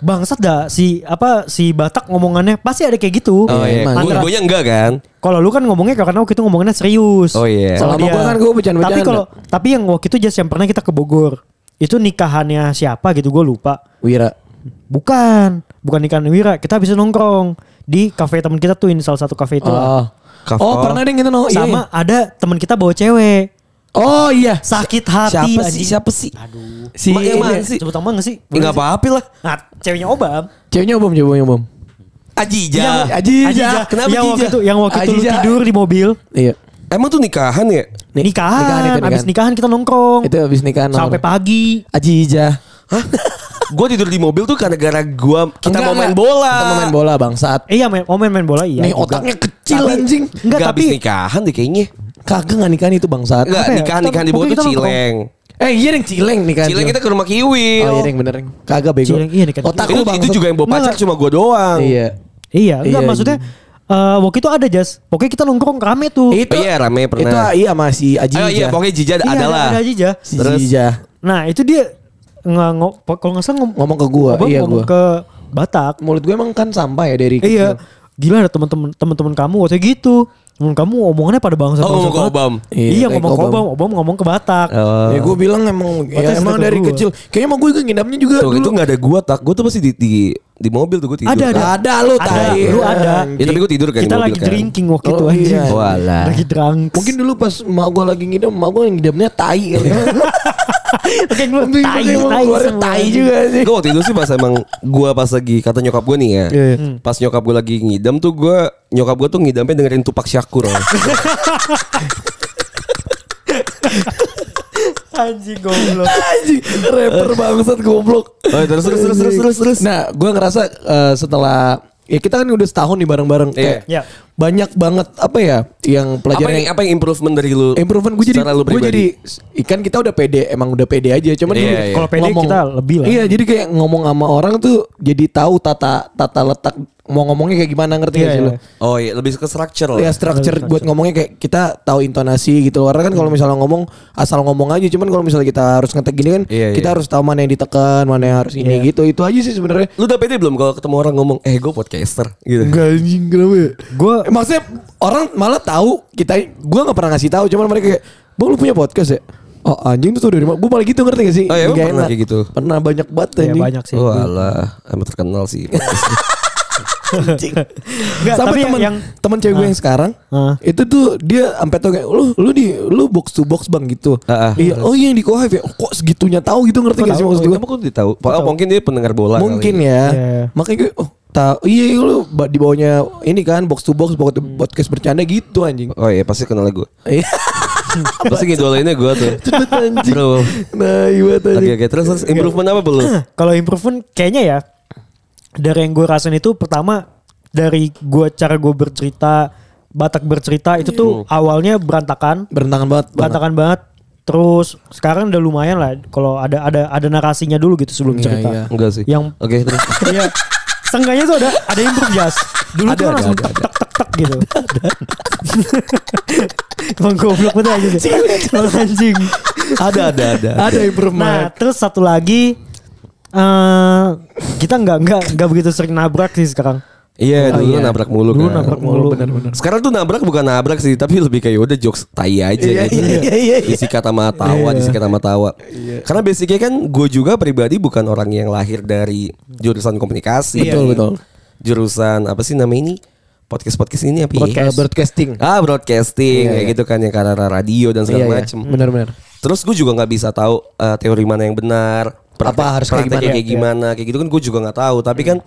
Speaker 4: Bangsat dah si apa si Batak ngomongannya pasti ada kayak gitu.
Speaker 2: Oh iya.
Speaker 3: emang.
Speaker 2: Gue
Speaker 4: Antara-
Speaker 2: nya enggak kan?
Speaker 4: Kalau lu kan ngomongnya karena waktu itu ngomongannya serius.
Speaker 2: Oh, iya.
Speaker 3: Kalau
Speaker 4: Sama
Speaker 3: sama
Speaker 4: dia.
Speaker 3: gua kan gua bercanda-bercanda.
Speaker 4: Tapi kalau tapi yang waktu itu jas yang pernah kita ke Bogor itu nikahannya siapa gitu gue lupa.
Speaker 3: Wira.
Speaker 4: Bukan, bukan nikahan Wira. Kita bisa nongkrong di kafe teman kita tuh ini salah satu kafe itu. lah.
Speaker 3: Oh.
Speaker 2: Kafal.
Speaker 3: Oh pernah deh kita nongkrong iya,
Speaker 4: Sama
Speaker 3: iya.
Speaker 4: ada teman kita bawa cewek.
Speaker 3: Oh iya.
Speaker 4: Sakit hati
Speaker 2: Siapa sih?
Speaker 4: anjing.
Speaker 2: Siapa sih?
Speaker 4: Aduh.
Speaker 3: Si
Speaker 2: Ma- yang mana
Speaker 3: ini-
Speaker 2: sih?
Speaker 4: Sebut nama gak sih?
Speaker 2: Enggak apa-apa lah.
Speaker 4: Nah, ceweknya Obam.
Speaker 3: Ceweknya bom coba bom.
Speaker 2: Ajija.
Speaker 3: Yang- Ajija.
Speaker 2: Kenapa
Speaker 4: yang waktu
Speaker 2: Ajija?
Speaker 4: itu yang waktu itu lu
Speaker 3: Ajija.
Speaker 4: tidur di mobil.
Speaker 3: Iya.
Speaker 2: Emang tuh nikahan ya?
Speaker 3: Ni-
Speaker 4: nikahan,
Speaker 3: nikahan itu,
Speaker 4: abis
Speaker 3: nikahan.
Speaker 4: nikahan kita nongkrong.
Speaker 3: Itu habis nikahan.
Speaker 4: sampai
Speaker 3: nongkrong.
Speaker 4: pagi.
Speaker 3: Ajijah.
Speaker 2: Hah? gue tidur di mobil tuh karena gara gua kita
Speaker 3: Enggak,
Speaker 2: mau main
Speaker 3: enggak.
Speaker 2: bola.
Speaker 3: Kita mau main bola bangsat.
Speaker 4: Eh, iya main, oh main, main bola iya.
Speaker 3: Nih
Speaker 4: juga.
Speaker 3: otaknya kecil
Speaker 4: Tapi-
Speaker 3: anjing.
Speaker 4: Enggak,
Speaker 2: Nggak
Speaker 4: tapi
Speaker 2: habis nikahan deh kayaknya.
Speaker 3: Kagak nggak nikahan itu bangsat.
Speaker 2: Enggak,
Speaker 4: Apa ya?
Speaker 2: nikahan
Speaker 4: Kita-
Speaker 2: nikahan di bawah
Speaker 4: mungkin
Speaker 2: tuh
Speaker 4: kita nongkrong.
Speaker 2: cileng.
Speaker 3: Eh iya yang cileng nikahan.
Speaker 2: Cileng kita ke rumah Kiwil.
Speaker 3: Oh iya yang bener Ring. Kagak bego.
Speaker 4: Cileng, iya, nikahan
Speaker 3: Otak
Speaker 2: itu,
Speaker 3: lu bangsat.
Speaker 2: itu juga yang bawa pacar
Speaker 4: Nggak.
Speaker 2: cuma gua doang.
Speaker 3: Iya.
Speaker 4: Iya, enggak
Speaker 3: Iya,
Speaker 4: maksudnya eh, waktu itu ada jas. Pokoknya kita nongkrong rame tuh.
Speaker 2: Oh iya, rame pernah.
Speaker 3: Itu iya sama si Aji.
Speaker 2: Ayo, iya pokoknya Jija
Speaker 4: Iya, ada-
Speaker 2: adalah.
Speaker 4: ada Ajija.
Speaker 3: si
Speaker 2: Terus-
Speaker 3: Jija
Speaker 4: Nah, itu dia nggak ngo- po- kalau nggak salah ngom-
Speaker 3: ngomong ke gua.
Speaker 4: Obam
Speaker 3: Iya
Speaker 4: ngomong
Speaker 3: gua.
Speaker 4: ke Batak.
Speaker 3: Mulut gue emang kan sampah ya dari
Speaker 4: Iya.
Speaker 3: kecil.
Speaker 4: Gila ada teman-teman teman-teman kamu waktu gitu. Temen kamu omongannya pada bangsa
Speaker 2: Oh, ngomong ke Obam.
Speaker 4: Iya,
Speaker 3: Iya,
Speaker 4: ngomong
Speaker 3: kayak
Speaker 4: ke
Speaker 3: ke
Speaker 4: Obam. Obam ngomong ke Batak.
Speaker 2: Oh.
Speaker 3: Ya gue bilang emang
Speaker 4: Otak
Speaker 3: ya, emang
Speaker 4: sudah
Speaker 3: dari
Speaker 4: gua.
Speaker 3: kecil. Kayaknya emang gue juga ngidamnya juga.
Speaker 2: Tuh, itu
Speaker 3: dulu.
Speaker 2: nggak ada gua tak, gua tuh pasti di di, di mobil tuh gua tidur.
Speaker 4: Ada,
Speaker 2: kan.
Speaker 4: ada.
Speaker 3: Ada lu
Speaker 4: Ada,
Speaker 3: tai.
Speaker 4: lu ada.
Speaker 2: Ya tapi gua tidur kan
Speaker 4: kita
Speaker 2: di mobil
Speaker 4: lagi
Speaker 2: kan.
Speaker 4: drinking waktu
Speaker 3: Oh,
Speaker 4: itu
Speaker 3: iya.
Speaker 4: anjing.
Speaker 2: Walah.
Speaker 4: Lagi drunk.
Speaker 3: Mungkin dulu pas emak gue lagi ngidam, emak gue ngidamnya tai. kali ya.
Speaker 4: Oke, gue
Speaker 3: Mungkin
Speaker 4: tai
Speaker 3: emang
Speaker 4: tai
Speaker 3: keluarnya
Speaker 4: semua.
Speaker 3: tai juga sih.
Speaker 2: Gue waktu itu sih pas emang gua pas lagi kata nyokap gua nih ya.
Speaker 3: Iya, iya.
Speaker 2: Pas nyokap gua lagi ngidam tuh gua nyokap gua tuh ngidamnya dengerin Tupak Syakur.
Speaker 4: Anjing goblok.
Speaker 3: Anjing, rapper bangsat goblok.
Speaker 2: Oh, terus, terus, terus, terus, terus, terus.
Speaker 3: Nah, gue ngerasa eh, setelah ya kita kan udah setahun nih bareng-bareng kayak
Speaker 4: Iya.
Speaker 3: banyak banget apa ya yang
Speaker 2: Apa yang,
Speaker 3: pelajaran
Speaker 2: apa yang improvement dari lu?
Speaker 3: improvement gue jadi
Speaker 2: secara lu
Speaker 3: gue
Speaker 2: pribadi?
Speaker 3: jadi ikan kita udah pede emang udah pede aja cuman
Speaker 2: Iya,
Speaker 3: dulu
Speaker 2: iya.
Speaker 4: Kalau pede kita lebih lah.
Speaker 3: iya jadi kayak ngomong sama orang tuh jadi tahu tata tata letak mau ngomongnya kayak gimana ngerti
Speaker 4: Iya,
Speaker 3: gak sih
Speaker 4: iya.
Speaker 3: lo
Speaker 2: Oh iya, lebih ke structure
Speaker 3: ya
Speaker 2: lah.
Speaker 3: structure buat ngomongnya kayak kita tahu intonasi gitu karena kan kalau misalnya ngomong asal ngomong aja cuman kalau misalnya kita harus ngetek gini kan
Speaker 2: Iya,
Speaker 3: kita
Speaker 2: iya.
Speaker 3: harus tahu mana yang ditekan mana yang harus ini
Speaker 4: Iya.
Speaker 3: gitu itu aja sih sebenarnya
Speaker 2: Lu udah pede belum kalau ketemu orang ngomong, eh gue podcaster gitu.
Speaker 3: Enggak anjing kenapa ya?
Speaker 4: Gua
Speaker 3: Eh, Maksudnya orang malah tahu kita gua nggak pernah ngasih tahu cuman mereka kayak Bang lu punya podcast ya? Oh anjing tuh tau dari mana? Gue malah gitu ngerti gak sih?
Speaker 2: Oh, iya, emang
Speaker 3: Nggak
Speaker 2: pernah kayak gitu?
Speaker 3: Pernah banyak banget
Speaker 4: ya
Speaker 3: anjing.
Speaker 4: banyak sih.
Speaker 2: Oh alah, emang terkenal sih.
Speaker 3: Anjing.
Speaker 4: Nggak,
Speaker 3: Sampai
Speaker 4: tapi
Speaker 3: temen,
Speaker 4: yang-
Speaker 3: temen cewek gue yang sekarang
Speaker 4: Ah.
Speaker 3: Itu tuh dia sampai tau kayak Lu, lu di lu box to box bang gitu
Speaker 2: Ah, ah.
Speaker 3: Iya, Oh iya yang di Kohive ya Kok segitunya tahu gitu ngerti gak sih maksud gue?
Speaker 2: Emang kok dia tahu? Oh, mungkin dia pendengar bola. kali.
Speaker 3: Mungkin ya.
Speaker 4: gitu? Iya.
Speaker 3: Makanya gue oh tahu iya iya, lu ba- di bawahnya ini kan box to box pokoknya
Speaker 4: Hmm.
Speaker 3: podcast bercanda gitu anjing.
Speaker 2: Oh iya, pasti kenal gue.
Speaker 3: Iya.
Speaker 2: Pasti ngidolainnya gue tuh.
Speaker 3: Cepet anjing.
Speaker 2: Bro.
Speaker 3: Nah, iya
Speaker 2: Oke
Speaker 3: tadi.
Speaker 2: oke, terus, terus improvement apa belum?
Speaker 4: Kalau improvement kayaknya ya dari yang gue rasain itu pertama dari gue cara gue bercerita Batak bercerita itu tuh
Speaker 2: Iya.
Speaker 4: awalnya berantakan,
Speaker 3: Berentangan banget.
Speaker 4: berantakan banget. Terus sekarang udah lumayan lah kalau ada ada ada narasinya dulu gitu sebelum
Speaker 3: Iya,
Speaker 4: cerita.
Speaker 3: iya.
Speaker 2: Enggak sih.
Speaker 4: Yang-
Speaker 2: oke terus.
Speaker 4: Iya. Seenggaknya tuh ada ada improve jas. Dulu
Speaker 2: Ada,
Speaker 4: tuh
Speaker 2: ada,
Speaker 4: langsung
Speaker 2: ada,
Speaker 4: tek tek tek tek gitu. Emang goblok betul aja sih. Emang anjing.
Speaker 2: ada ada ada.
Speaker 3: Ada improvement.
Speaker 4: Nah terus satu lagi. eh kita nggak nggak nggak begitu sering nabrak sih sekarang.
Speaker 2: Iya, dulu
Speaker 3: iya.
Speaker 2: nabrak mulu
Speaker 4: Dulu
Speaker 2: kan.
Speaker 4: nabrak mulu. Benar-benar.
Speaker 2: Sekarang tuh nabrak bukan nabrak sih, tapi lebih kayak udah jokes tai aja
Speaker 3: Iya,
Speaker 2: gitu.
Speaker 3: iya, iya, iya.
Speaker 2: Disikat sama tawa, disikat sama tawa. Karena basicnya kan gue juga pribadi bukan orang yang lahir dari jurusan komunikasi.
Speaker 3: Betul, betul.
Speaker 2: Jurusan apa sih namanya ini? Podcast-podcast ini apa? ya?
Speaker 4: Iya.
Speaker 3: Podcast. Broadcasting.
Speaker 2: Ah, broadcasting
Speaker 3: Iya,
Speaker 2: kayak gitu kan yang karena radio dan segala
Speaker 4: iya.
Speaker 2: macem.
Speaker 4: Hmm.
Speaker 3: Benar-benar.
Speaker 2: Terus gue juga nggak bisa tahu eh, teori mana yang benar,
Speaker 3: Apa harus kayak
Speaker 2: prakteknya
Speaker 3: gimana? Iya.
Speaker 2: kayak gimana, kayak gitu kan gue juga nggak tahu. Tapi kan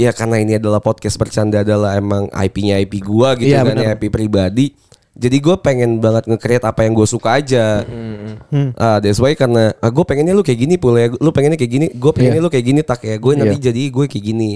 Speaker 2: ya karena ini adalah podcast bercanda adalah emang IP-nya IP gue gitu
Speaker 3: Iya,
Speaker 2: kan ya,
Speaker 3: benar.
Speaker 2: IP pribadi. Jadi gue pengen banget nge-create apa yang gue suka aja.
Speaker 3: Hmm.
Speaker 2: Ah, that's why karena ah, gue pengennya lu kayak gini pula ya, lu pengennya kayak gini, gue pengennya
Speaker 3: Iya.
Speaker 2: lu kayak gini tak ya, gue nanti jadi gue kayak gini.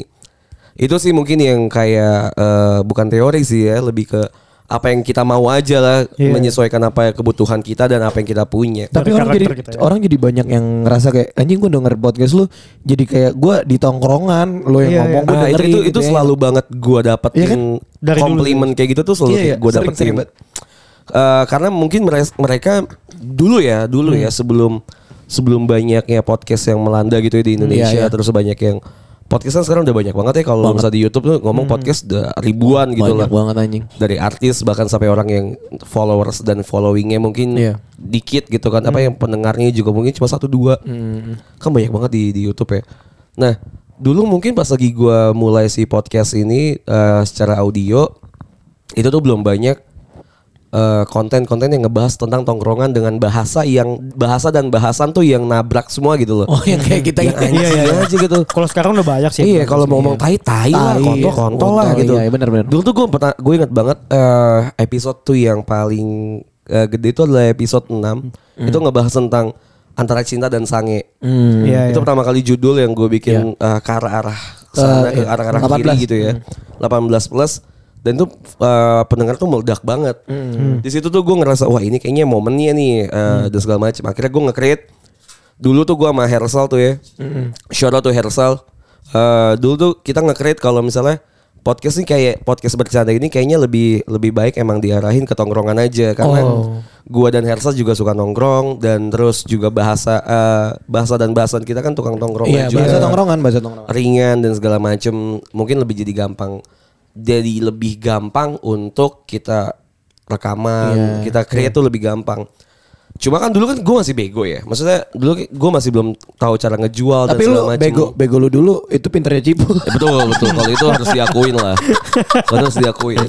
Speaker 2: Itu sih mungkin yang kayak eh, bukan teori sih ya, lebih ke apa yang kita mau aja lah
Speaker 4: Iya.
Speaker 2: menyesuaikan apa kebutuhan kita dan apa yang kita punya.
Speaker 3: Tapi
Speaker 4: Dari
Speaker 3: orang jadi
Speaker 4: karakter kita ya.
Speaker 3: orang jadi banyak yang ngerasa kayak anjing gue denger podcast lu jadi kayak gue di tongkrongan lo yang
Speaker 4: Iya,
Speaker 3: ngomong
Speaker 4: iya.
Speaker 3: gue
Speaker 2: Nah, itu
Speaker 3: dengerin
Speaker 2: itu,
Speaker 3: gitu
Speaker 2: itu
Speaker 3: ya.
Speaker 2: selalu banget gua dapetin
Speaker 3: Iya kan?
Speaker 4: Dari dulu.
Speaker 2: komplimen kayak gitu tuh selalu
Speaker 3: Iya, iya.
Speaker 2: gua
Speaker 3: Sering,
Speaker 2: dapetin.
Speaker 3: sering banget.
Speaker 2: Eh, karena mungkin mereka, mereka dulu ya, dulu ya
Speaker 3: Hmm.
Speaker 2: sebelum sebelum banyaknya podcast yang melanda gitu ya di Indonesia
Speaker 3: iya.
Speaker 2: terus banyak yang podcast kan sekarang udah banyak banget ya kalau misalnya di YouTube tuh ngomong podcast udah ribuan gitu lah.
Speaker 3: Hmm. banyak banget anjing.
Speaker 2: Dari artis bahkan sampai orang yang followers dan followingnya mungkin
Speaker 3: Iya. Hmm.
Speaker 2: dikit gitu kan apa yang pendengarnya juga mungkin cuma satu dua kan banyak banget di di YouTube ya nah dulu mungkin pas lagi gua mulai si podcast ini eh, secara audio itu tuh belum banyak eh, konten-konten yang ngebahas tentang tongkrongan dengan bahasa yang bahasa dan bahasan tuh yang nabrak semua gitu loh
Speaker 3: Oh yang kayak kita Iya,
Speaker 2: Yang anjing aja gitu
Speaker 4: Kalau sekarang udah banyak sih.
Speaker 2: iya kalau mau ngomong tai tai lah
Speaker 3: Tai,
Speaker 2: kontol kontol lah
Speaker 3: kontol,
Speaker 2: gitu
Speaker 3: iya, iya, benar, benar.
Speaker 2: dulu tuh gue pernah gue inget banget eh, episode tuh yang paling eh, gede itu adalah episode 6 itu ngebahas tentang antara cinta dan sange
Speaker 4: Iya,
Speaker 2: itu
Speaker 4: iya.
Speaker 2: pertama kali judul yang gue bikin eh, ke arah arah sana ke
Speaker 3: Eh, iya.
Speaker 2: arah arah kiri
Speaker 3: 18.
Speaker 2: gitu ya 18 plus dan tuh eh, pendengar tuh meledak banget
Speaker 3: Hmm.
Speaker 2: di situ tuh gue ngerasa wah ini kayaknya momennya nih eh, dan segala macam akhirnya gue nge-create dulu tuh gue sama Hersal tuh ya
Speaker 3: Hmm.
Speaker 2: shout out to Hersal Eh, dulu tuh kita nge-create kalau misalnya podcast nih kayak podcast bercanda ini kayaknya lebih lebih baik emang diarahin ke tongkrongan aja karena
Speaker 3: Oh.
Speaker 2: gua dan Hersal juga suka nongkrong dan terus juga bahasa eh, bahasa dan bahasan kita kan tukang tongkrongan
Speaker 3: Iya
Speaker 2: juga
Speaker 3: bahasa tongkrongan bahasa tongkrongan.
Speaker 2: ringan dan segala macem mungkin lebih jadi gampang jadi lebih gampang untuk kita
Speaker 3: Iya.
Speaker 2: rekaman kita create tuh lebih gampang cuma kan dulu kan gue masih bego ya maksudnya dulu gue masih belum tahu cara ngejual
Speaker 3: Tapi
Speaker 2: dan
Speaker 3: lu
Speaker 2: segala macem
Speaker 3: bego bego lu dulu itu pinternya cipu.
Speaker 2: Ya, betul betul kalau itu harus diakuin lah Kalau itu harus diakuin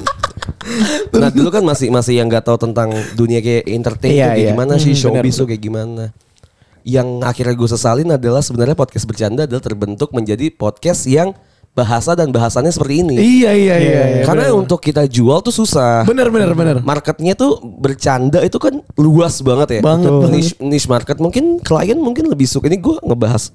Speaker 2: nah dulu kan masih masih yang nggak tahu tentang dunia kayak entertain
Speaker 3: Iya,
Speaker 2: tuh kayak
Speaker 3: iya.
Speaker 2: gimana sih
Speaker 3: Hmm,
Speaker 2: showbiz tuh kayak gimana yang akhirnya gue sesalin adalah sebenarnya podcast bercanda adalah terbentuk menjadi podcast yang bahasa dan bahasannya seperti ini.
Speaker 3: Iya iya iya. iya.
Speaker 2: Karena untuk kita jual tuh susah.
Speaker 3: bener bener bener.
Speaker 2: Marketnya tuh bercanda itu kan luas banget ya.
Speaker 3: Banget,
Speaker 2: Betul.
Speaker 3: banget.
Speaker 2: Niche, niche market mungkin klien mungkin lebih suka ini gue ngebahas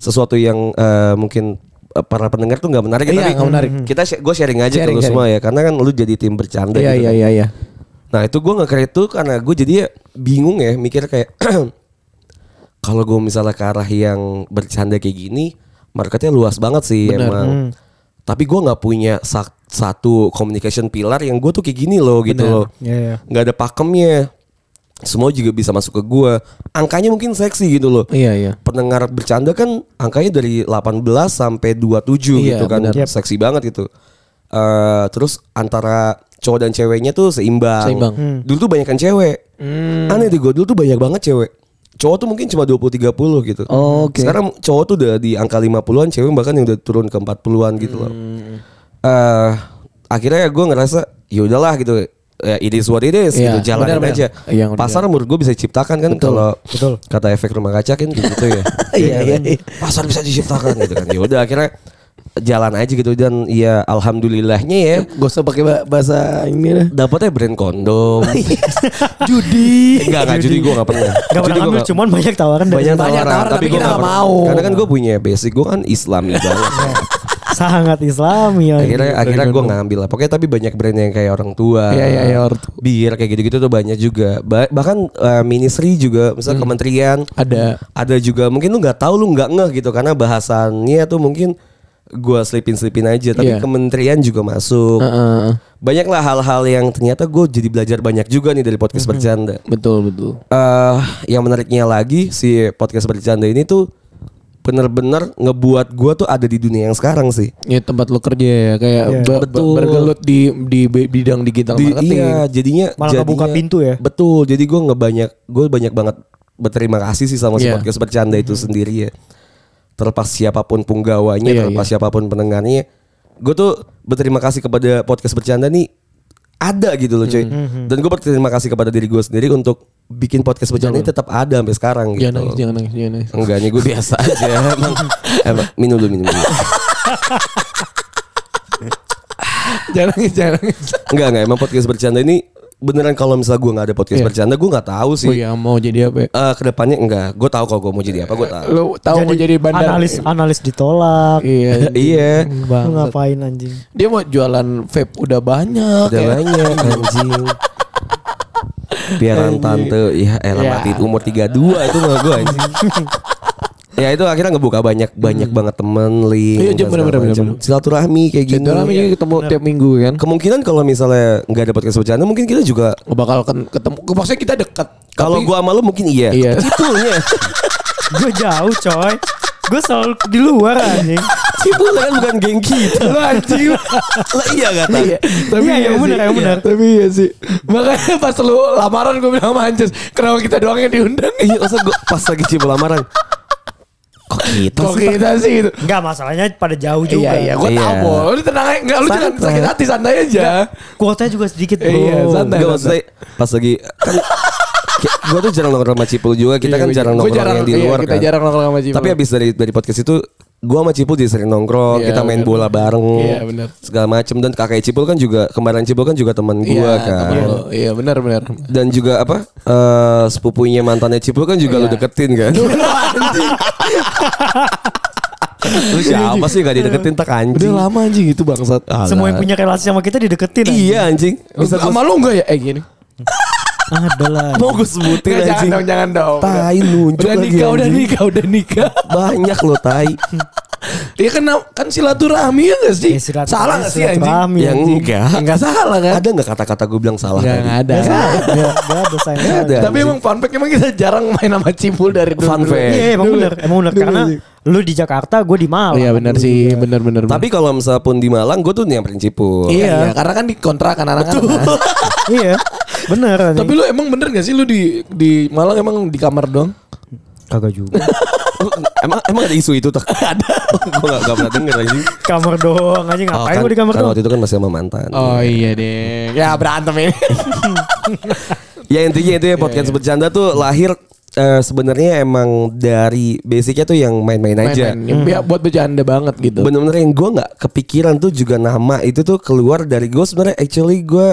Speaker 2: sesuatu yang eh, mungkin eh, para pendengar tuh nggak menarik ya,
Speaker 3: Iya,
Speaker 2: tapi
Speaker 3: nggak menarik.
Speaker 2: kita gue sharing aja ke
Speaker 3: Sharing,
Speaker 2: lu
Speaker 3: sharing.
Speaker 2: semua ya karena kan lu jadi tim bercanda
Speaker 3: Iya
Speaker 2: gitu
Speaker 3: iya
Speaker 2: kan.
Speaker 3: iya iya.
Speaker 2: Nah itu gue nggak kredit tuh karena gue jadi ya bingung ya mikir kayak kalau gue misalnya ke arah yang bercanda kayak gini marketnya luas banget sih emang.
Speaker 4: Hmm.
Speaker 2: Tapi gue nggak punya sa- satu communication pillar yang gue tuh kayak gini loh gitu
Speaker 3: Bener.
Speaker 2: loh.
Speaker 4: Iya, iya.
Speaker 2: Nggak ada pakemnya. Semua juga bisa masuk ke gue. Angkanya mungkin seksi gitu loh.
Speaker 3: Iya iya.
Speaker 2: Pendengar bercanda kan angkanya dari 18 sampai 27
Speaker 3: Iya,
Speaker 2: gitu kan.
Speaker 3: bener.
Speaker 4: Yep.
Speaker 2: Seksi banget gitu. Eh, terus antara cowok dan ceweknya tuh seimbang.
Speaker 3: Seimbang. Hmm.
Speaker 2: Dulu tuh banyak kan cewek. Aneh deh gue dulu tuh banyak banget cewek. Cowok tuh mungkin cuma 20 30 gitu.
Speaker 3: Oh, oke.
Speaker 2: Sekarang cowok tuh udah di angka 50-an, cewek bahkan yang udah turun ke 40-an gitu loh.
Speaker 3: Hmm.
Speaker 2: Eh akhirnya gue ngerasa ya udahlah gitu. Ya, it is what it is
Speaker 3: Iya,
Speaker 2: gitu, jalanin
Speaker 3: benar-benar.
Speaker 2: aja.
Speaker 3: Iya, benar.
Speaker 2: Pasar menurut gue bisa diciptakan kan kalau kata efek rumah kaca kan gitu ya.
Speaker 3: Iya, iya, iya.
Speaker 2: Pasar bisa diciptakan gitu kan. Ya udah akhirnya jalan aja gitu dan ya alhamdulillahnya ya
Speaker 3: Gak usah pakai ba- bahasa ini lah.
Speaker 2: dapatnya brand kondom Iya. judi enggak enggak judi gue enggak pernah Judi
Speaker 4: Gak pernah
Speaker 2: gua
Speaker 4: ngambil
Speaker 2: nggak-
Speaker 4: cuman banyak tawaran dari
Speaker 2: banyak
Speaker 3: banyak
Speaker 2: tawaran,
Speaker 3: tawaran,
Speaker 2: tapi
Speaker 3: tapi
Speaker 2: gue
Speaker 3: kita
Speaker 2: enggak
Speaker 3: nggak
Speaker 2: mau
Speaker 3: mau.
Speaker 2: karena kan gue punya basic gue kan islami banget
Speaker 4: sangat islami ya.
Speaker 2: akhirnya akhirnya gue ngambil lah pokoknya tapi banyak brand yang kayak orang tua
Speaker 3: Iya, iya, iya, orang tua.
Speaker 2: bir kayak gitu gitu tuh banyak juga Ba- bahkan eh, ministry juga misal kementerian
Speaker 3: Hmm. Ada.
Speaker 2: ada juga mungkin lu nggak tahu lu nggak ngeh gitu karena bahasannya tuh mungkin gue selipin selipin aja tapi
Speaker 3: Iya.
Speaker 2: kementerian juga masuk
Speaker 3: Heeh.
Speaker 2: banyaklah hal-hal yang ternyata gue jadi belajar banyak juga nih dari
Speaker 3: Hmm.
Speaker 2: podcast bercanda.
Speaker 3: Betul betul.
Speaker 2: Eh, yang menariknya lagi si podcast bercanda ini tuh bener-bener ngebuat gue tuh ada di dunia yang sekarang sih.
Speaker 3: Ya tempat lo kerja ya kayak ba- ba-
Speaker 2: Betul.
Speaker 3: bergelut di di be- bidang digital
Speaker 2: Di-
Speaker 3: marketing.
Speaker 2: iya, jadinya
Speaker 4: Malah ngebuka
Speaker 2: jadinya-
Speaker 4: pintu ya?
Speaker 2: Betul, jadi gue ngebanyak gue banyak banget berterima kasih sih sama si
Speaker 3: Iya.
Speaker 2: podcast bercanda itu
Speaker 4: Hmm.
Speaker 2: sendiri ya. Terlepas siapapun punggawanya,
Speaker 3: Iya,
Speaker 2: terlepas siapapun pendengarnya, gue tuh berterima kasih kepada podcast bercanda nih ada gitu loh cuy.
Speaker 4: Hmm.
Speaker 2: Dan gue berterima kasih kepada diri gue sendiri untuk bikin podcast bercanda ini tetap ada sampai sekarang gitu.
Speaker 3: Jangan Iya, nangis, jangan nangis, jangan nangis.
Speaker 2: Enggak nih gue biasa aja emang, emang minum dulu minum dulu.
Speaker 3: jangan nangis, jangan nangis.
Speaker 2: Enggak enggak emang podcast bercanda ini beneran kalau misalnya gue nggak ada podcast
Speaker 3: Iya.
Speaker 2: bercanda gue nggak tahu sih.
Speaker 3: Oh iya, mau jadi apa? Ya?
Speaker 2: Eh, kedepannya enggak, gue tahu kalau gue mau jadi apa gue tahu.
Speaker 3: Lo tahu mau jadi bandar?
Speaker 4: analis analis ditolak.
Speaker 3: Iya.
Speaker 2: iya,
Speaker 4: Lu
Speaker 3: Bang.
Speaker 4: ngapain anjing?
Speaker 3: Dia mau jualan vape udah banyak.
Speaker 2: udah
Speaker 3: ya.
Speaker 2: banyak anjing. Biaran tante, ya elah
Speaker 3: Ya.
Speaker 2: mati umur 32 itu mah gue anjing. Hmm. ya itu akhirnya ngebuka banyak banyak banget temen link
Speaker 3: Iya,
Speaker 2: dan
Speaker 3: bener,
Speaker 2: segala
Speaker 3: bener,
Speaker 2: macam.
Speaker 3: bener.
Speaker 2: silaturahmi kayak gini
Speaker 3: Gitu lah, ini ketemu tiap minggu kan.
Speaker 2: kemungkinan kalau misalnya nggak ada podcast bercanda mungkin kita juga
Speaker 3: Bakal ken- ketemu. Maksudnya kita dekat.
Speaker 2: kalau
Speaker 3: Tapi-
Speaker 2: gua sama lu mungkin iya
Speaker 3: Iya.
Speaker 2: Cipulnya
Speaker 4: Gue jauh coy. Gue selalu di luar anjing.
Speaker 2: Cipulnya kan bukan geng kita
Speaker 3: Lu anjing.
Speaker 2: Lah iya kata
Speaker 3: Iya, tapi
Speaker 4: Iya, yang
Speaker 3: sih.
Speaker 4: benar, yang
Speaker 3: Iya,
Speaker 4: benar.
Speaker 3: Tapi iya sih. Makanya pas lu lamaran gue bilang sama Anjas, kenapa kita doang yang diundang?
Speaker 2: Iya masa gue pas lagi cipul lamaran Kok kita
Speaker 3: Kok
Speaker 2: sih
Speaker 3: kita sih gitu.
Speaker 4: Enggak masalahnya pada jauh
Speaker 3: Iya
Speaker 4: juga.
Speaker 3: iya, gue tahu
Speaker 2: Iya.
Speaker 3: Bol. Lu tenang aja, enggak lu jangan
Speaker 2: Santai.
Speaker 3: sakit hati santai aja.
Speaker 4: Kuotanya juga sedikit bro.
Speaker 3: Iya, santai.
Speaker 2: Enggak maksudnya Pas lagi Kan Gue tuh jarang nongkrong sama Cipul juga Kita
Speaker 3: Iya,
Speaker 2: kan
Speaker 3: gua-
Speaker 2: jarang
Speaker 3: gua
Speaker 2: nongkrong
Speaker 3: jarang-
Speaker 2: yang di
Speaker 3: iya,
Speaker 2: luar
Speaker 3: kita
Speaker 2: kan
Speaker 3: jarang nongkrong sama Cipul.
Speaker 2: Tapi abis dari dari podcast itu Gue sama Cipul jadi sering nongkrong
Speaker 3: Iya,
Speaker 2: Kita main
Speaker 3: benar.
Speaker 2: bola bareng
Speaker 3: Iya, benar.
Speaker 2: Segala macem Dan kakek Cipul kan juga Kembaran Cipul kan juga teman gue
Speaker 3: Iya,
Speaker 2: kan
Speaker 3: temen lu. Iya, benar benar.
Speaker 2: dan juga apa eh, sepupunya mantannya Cipul kan juga lu
Speaker 3: Iya.
Speaker 2: deketin kan lu siapa sih gak dideketin tak
Speaker 3: Udah
Speaker 2: anjing
Speaker 3: lama anjing itu bangsat.
Speaker 4: Semua yang punya relasi sama kita dideketin. anjing.
Speaker 2: iya anjing
Speaker 3: Bisa
Speaker 2: bisa
Speaker 3: sama lu enggak ya? Eh gini.
Speaker 4: Ada lah.
Speaker 2: mau gue sebutin
Speaker 3: Nggak, jangan
Speaker 2: anjing
Speaker 3: dong, jangan dong.
Speaker 2: tai nunjuk
Speaker 3: Udah
Speaker 2: lagi
Speaker 3: nikah, udah
Speaker 2: anjing.
Speaker 3: nikah, udah nikah.
Speaker 2: banyak lo tai
Speaker 3: Iya kan kan silaturahmi ya enggak sih?
Speaker 4: Ya, silaturahmi,
Speaker 3: Salah enggak sih anjing?
Speaker 4: silaturahmi,
Speaker 2: yang
Speaker 4: anjing.
Speaker 2: enggak
Speaker 3: Ya Enggak salah kan?
Speaker 2: ada nggak kata-kata gue bilang salah
Speaker 3: Enggak
Speaker 2: tadi?
Speaker 3: ada.
Speaker 4: Biasa, Nggak nggak ada sayang.
Speaker 2: Nggak ada.
Speaker 3: Tapi emang fun fact emang kita jarang main sama Cipul dari dulu.
Speaker 2: Fun fact.
Speaker 4: Iya, emang
Speaker 3: Dulu.
Speaker 4: bener, emang bener
Speaker 3: Dulu,
Speaker 4: karena
Speaker 3: dulu.
Speaker 4: lu di Jakarta, gue di Malang.
Speaker 3: Iya benar sih, benar benar.
Speaker 2: tapi kalau misalnya pun di Malang gue tuh nyamperin Cipul
Speaker 3: iya, karena kan dikontrakan anak-anak. kan.
Speaker 4: iya, bener. anjing.
Speaker 3: Tapi lu emang bener gak sih lu di di Malang emang di kamar doang?
Speaker 4: kagak juga.
Speaker 2: Oh, emang emang ada isu itu tak ada gue nggak nggak pernah denger anjing
Speaker 4: kamar doang aja
Speaker 2: Oh,
Speaker 4: ngapain
Speaker 2: kan-
Speaker 4: gue di kamar
Speaker 2: kan
Speaker 4: doang?
Speaker 2: waktu itu kan masih sama mantan
Speaker 3: iya deh. Ya berantem ini. Iya,
Speaker 2: Ya intinya itu ya podcast bercanda tuh lahir eh, sebenarnya emang dari basicnya tuh yang main-main aja.
Speaker 3: Main-main. Ya, buat bercanda banget gitu.
Speaker 2: Bener-bener yang gue nggak kepikiran tuh juga nama itu tuh keluar dari gue sebenarnya actually gue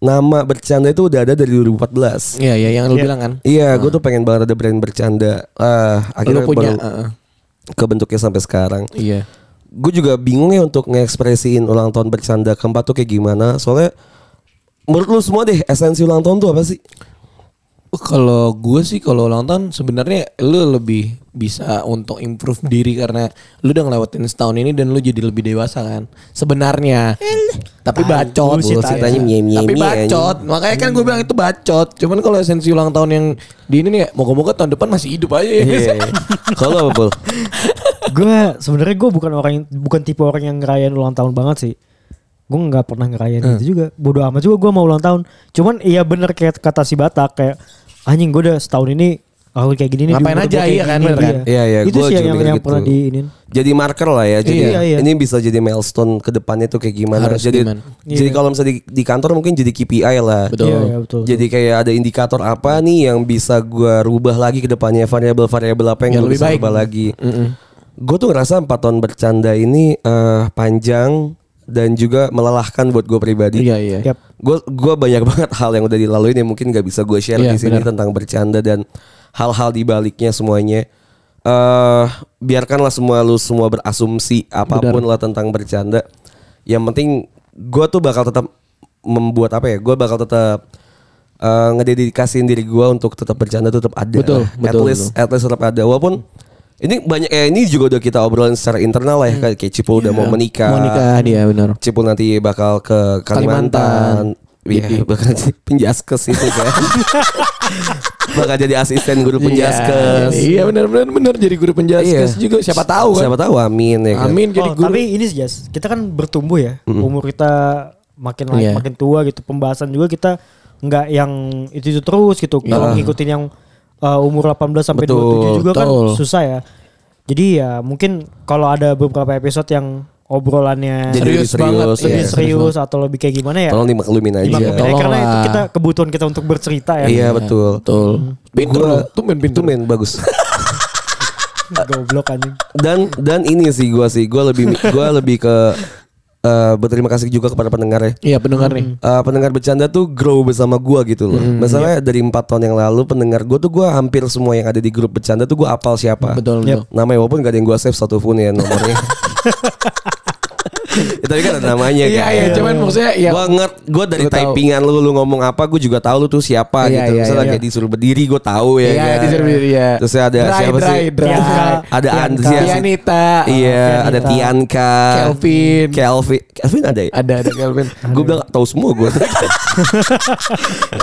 Speaker 2: nama bercanda itu udah ada dari 2014.
Speaker 3: Iya, iya yang lu bilang kan.
Speaker 2: Iya, gue tuh pengen banget ada brand bercanda. Ah, akhirnya
Speaker 3: Lu punya,
Speaker 2: baru
Speaker 3: heeh.
Speaker 2: kebentuknya sampai sekarang.
Speaker 3: Iya.
Speaker 2: Gue juga bingung ya untuk ngekspresiin ulang tahun bercanda keempat tuh kayak gimana. Soalnya menurut lu semua deh esensi ulang tahun tuh apa sih?
Speaker 3: Oh, Kalau gue sih kalau ulang tahun sebenarnya lu lebih bisa untuk improve diri karena lu udah ngelewatin setahun ini dan lu jadi lebih dewasa kan sebenarnya. Tapi bacot,
Speaker 2: bullshit aja. Tanya mie-mie
Speaker 3: tapi
Speaker 2: mie,
Speaker 3: bacot. Makanya kan gue bilang itu bacot. Cuman kalau esensi ulang tahun yang di ini nih, ya, moga-moga tahun depan masih hidup aja. ya.
Speaker 2: Iya. Kalau apa Pul?
Speaker 4: gue sebenarnya gue bukan orang yang- bukan tipe orang yang ngerayain ulang tahun banget sih gue nggak pernah ngerayain
Speaker 3: Hmm.
Speaker 4: itu juga bodoh amat juga gue mau ulang tahun cuman iya bener kayak kata si batak kayak anjing gue udah setahun ini tahun kayak gini nih, di
Speaker 3: Ngapain
Speaker 4: umur
Speaker 3: aja,
Speaker 4: gua kayak
Speaker 3: iya kan,
Speaker 4: gini,
Speaker 3: bener kan?
Speaker 2: Iya, iya,
Speaker 4: itu
Speaker 2: gua juga
Speaker 4: sih yang, yang,
Speaker 2: mikir
Speaker 4: yang
Speaker 2: gitu.
Speaker 4: pernah diinin
Speaker 2: jadi marker lah ya. Jadi
Speaker 4: Iya, iya.
Speaker 2: ini bisa jadi milestone ke depannya tuh kayak gimana.
Speaker 3: Harus
Speaker 2: jadi
Speaker 3: gimana.
Speaker 2: jadi kalau misalnya di, di kantor mungkin jadi KPI lah.
Speaker 3: Betul.
Speaker 4: Iya, iya, betul,
Speaker 2: Jadi kayak ada indikator apa nih yang bisa gua rubah lagi ke depannya variabel-variabel apa yang,
Speaker 3: Yang
Speaker 2: gua
Speaker 3: lebih
Speaker 2: bisa
Speaker 3: baik.
Speaker 2: rubah lagi. Gue tuh ngerasa 4 tahun bercanda ini eh, panjang dan juga melelahkan buat gue pribadi.
Speaker 3: Iya, iya.
Speaker 4: Yap.
Speaker 2: Gue gua banyak banget hal yang udah dilalui yang mungkin gak bisa gue share
Speaker 3: Iya,
Speaker 2: di sini
Speaker 3: benar.
Speaker 2: tentang bercanda dan hal-hal di baliknya semuanya. eh biarkanlah semua lu semua berasumsi apapun lah tentang bercanda. Yang penting gue tuh bakal tetap membuat apa ya? Gue bakal tetap eh, ngededikasiin diri gue untuk tetap bercanda tetap ada.
Speaker 3: Betul,
Speaker 2: lah. at
Speaker 3: betul,
Speaker 2: least at least tetap ada. Walaupun ini banyak ya ini juga udah kita obrolin secara internal lah ya kayak kayak Cipo udah mau menikah.
Speaker 3: Hmm. Iya. Mau nikah dia benar.
Speaker 2: Cipul nanti bakal ke Kalimantan.
Speaker 3: Kalimantan.
Speaker 2: Iya, bakal jadi penjaskes itu kan. bakal jadi asisten guru penjaskes.
Speaker 3: Iya, benar-benar benar jadi guru
Speaker 2: Iya.
Speaker 3: penjaskes juga siapa tahu kan.
Speaker 2: Siapa tahu amin ya kan.
Speaker 3: Amin jadi
Speaker 4: Oh,
Speaker 3: guru.
Speaker 4: tapi ini sih Jas, kita kan bertumbuh ya. Umur kita makin lain,
Speaker 3: Iya.
Speaker 4: makin tua gitu. Pembahasan juga kita nggak yang itu, itu terus gitu. Kalau ngikutin yang uh, umur 18 sampai
Speaker 2: Iya. Betul,
Speaker 4: 27 juga
Speaker 3: betul.
Speaker 4: kan susah ya. Jadi ya mungkin kalau ada beberapa episode yang obrolannya
Speaker 2: Jadi
Speaker 3: Serius
Speaker 2: serius,
Speaker 3: banget,
Speaker 2: serius,
Speaker 4: lebih
Speaker 2: iya.
Speaker 4: serius atau lebih kayak gimana ya?
Speaker 2: Tolong dimaklumin aja.
Speaker 4: Dimaklumin aja,
Speaker 3: Tolong
Speaker 4: karena itu
Speaker 3: lah.
Speaker 4: kita kebutuhan kita untuk bercerita ya.
Speaker 2: Iya betul.
Speaker 3: Betul. Pinter,
Speaker 2: Gua-
Speaker 3: tumben pinter.
Speaker 2: Tumben, bagus.
Speaker 4: Goblok anjing.
Speaker 2: Dan dan ini sih gua sih gua lebih gua lebih ke eh, berterima kasih juga kepada pendengar ya.
Speaker 3: Iya pendengar nih.
Speaker 2: Eh, pendengar bercanda tuh grow bersama gua gitu loh.
Speaker 3: Hmm,
Speaker 2: Masalahnya
Speaker 3: iya.
Speaker 2: dari empat tahun yang lalu pendengar gua tuh gua hampir semua yang ada di grup bercanda tuh gua apal siapa.
Speaker 3: Betul betul.
Speaker 2: Namanya walaupun gak ada yang gue save satu pun ya nomornya. ya, tapi kan ada namanya
Speaker 3: Iya
Speaker 2: kan.
Speaker 3: iya cuman maksudnya ya
Speaker 2: Gue ngerti, gue dari
Speaker 3: Lu tahu.
Speaker 2: typingan lu, lu ngomong apa, gue juga tahu lu tuh siapa
Speaker 3: Iya,
Speaker 2: gitu.
Speaker 3: iya,
Speaker 2: Misalnya
Speaker 3: iya.
Speaker 2: kayak disuruh berdiri, gue tahu ya.
Speaker 3: Iya,
Speaker 2: kan.
Speaker 3: disuruh berdiri, iya.
Speaker 2: Terus ada
Speaker 3: Dry,
Speaker 2: siapa
Speaker 3: dry,
Speaker 2: sih?
Speaker 3: dry.
Speaker 4: Tianka.
Speaker 2: Ada
Speaker 4: Tianka.
Speaker 2: Andri,
Speaker 3: Tianita.
Speaker 2: Iya, ada Tianka,
Speaker 3: Kelvin.
Speaker 2: Kelvin, Kelvin ada ya.
Speaker 3: Ada ada Kelvin.
Speaker 2: Gue bilang tahu semua gue.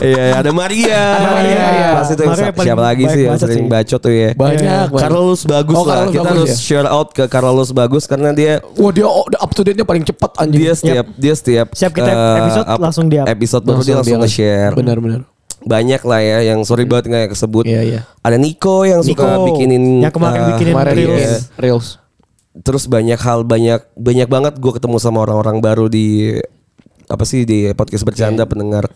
Speaker 2: Iya, ada Maria.
Speaker 3: Ada Maria, iya.
Speaker 2: Pasti tuh yang
Speaker 4: Maria
Speaker 2: sa-
Speaker 4: paling
Speaker 2: siapa lagi sih
Speaker 4: banyak
Speaker 2: yang
Speaker 4: bacot
Speaker 2: sering
Speaker 4: sih.
Speaker 2: bacot tuh ya.
Speaker 3: Banyak banyak.
Speaker 2: Carlos bagus
Speaker 3: Oh,
Speaker 2: lah.
Speaker 3: Carlos
Speaker 2: Kita
Speaker 3: bagus
Speaker 2: harus
Speaker 3: ya?
Speaker 2: share out ke Carlos bagus karena dia
Speaker 3: Wah dia oh, up to date-nya paling cepat anjing.
Speaker 2: dia setiap dia setiap
Speaker 4: Siap kita
Speaker 2: eh,
Speaker 4: episode
Speaker 2: ap-
Speaker 4: langsung di up.
Speaker 2: episode baru dia langsung nge-share.
Speaker 3: Benar benar.
Speaker 2: Banyak lah ya yang sorry banget nggak kesebut.
Speaker 3: Iya, iya.
Speaker 2: Ada Nico yang suka
Speaker 4: Nico,
Speaker 2: bikinin
Speaker 4: yang kemarin
Speaker 2: eh,
Speaker 4: bikinin
Speaker 3: Kemarin
Speaker 4: Reels.
Speaker 3: bikin reels.
Speaker 2: terus banyak hal banyak banyak banget gue ketemu sama orang-orang baru di apa sih di podcast bercanda
Speaker 3: Iya.
Speaker 2: pendengar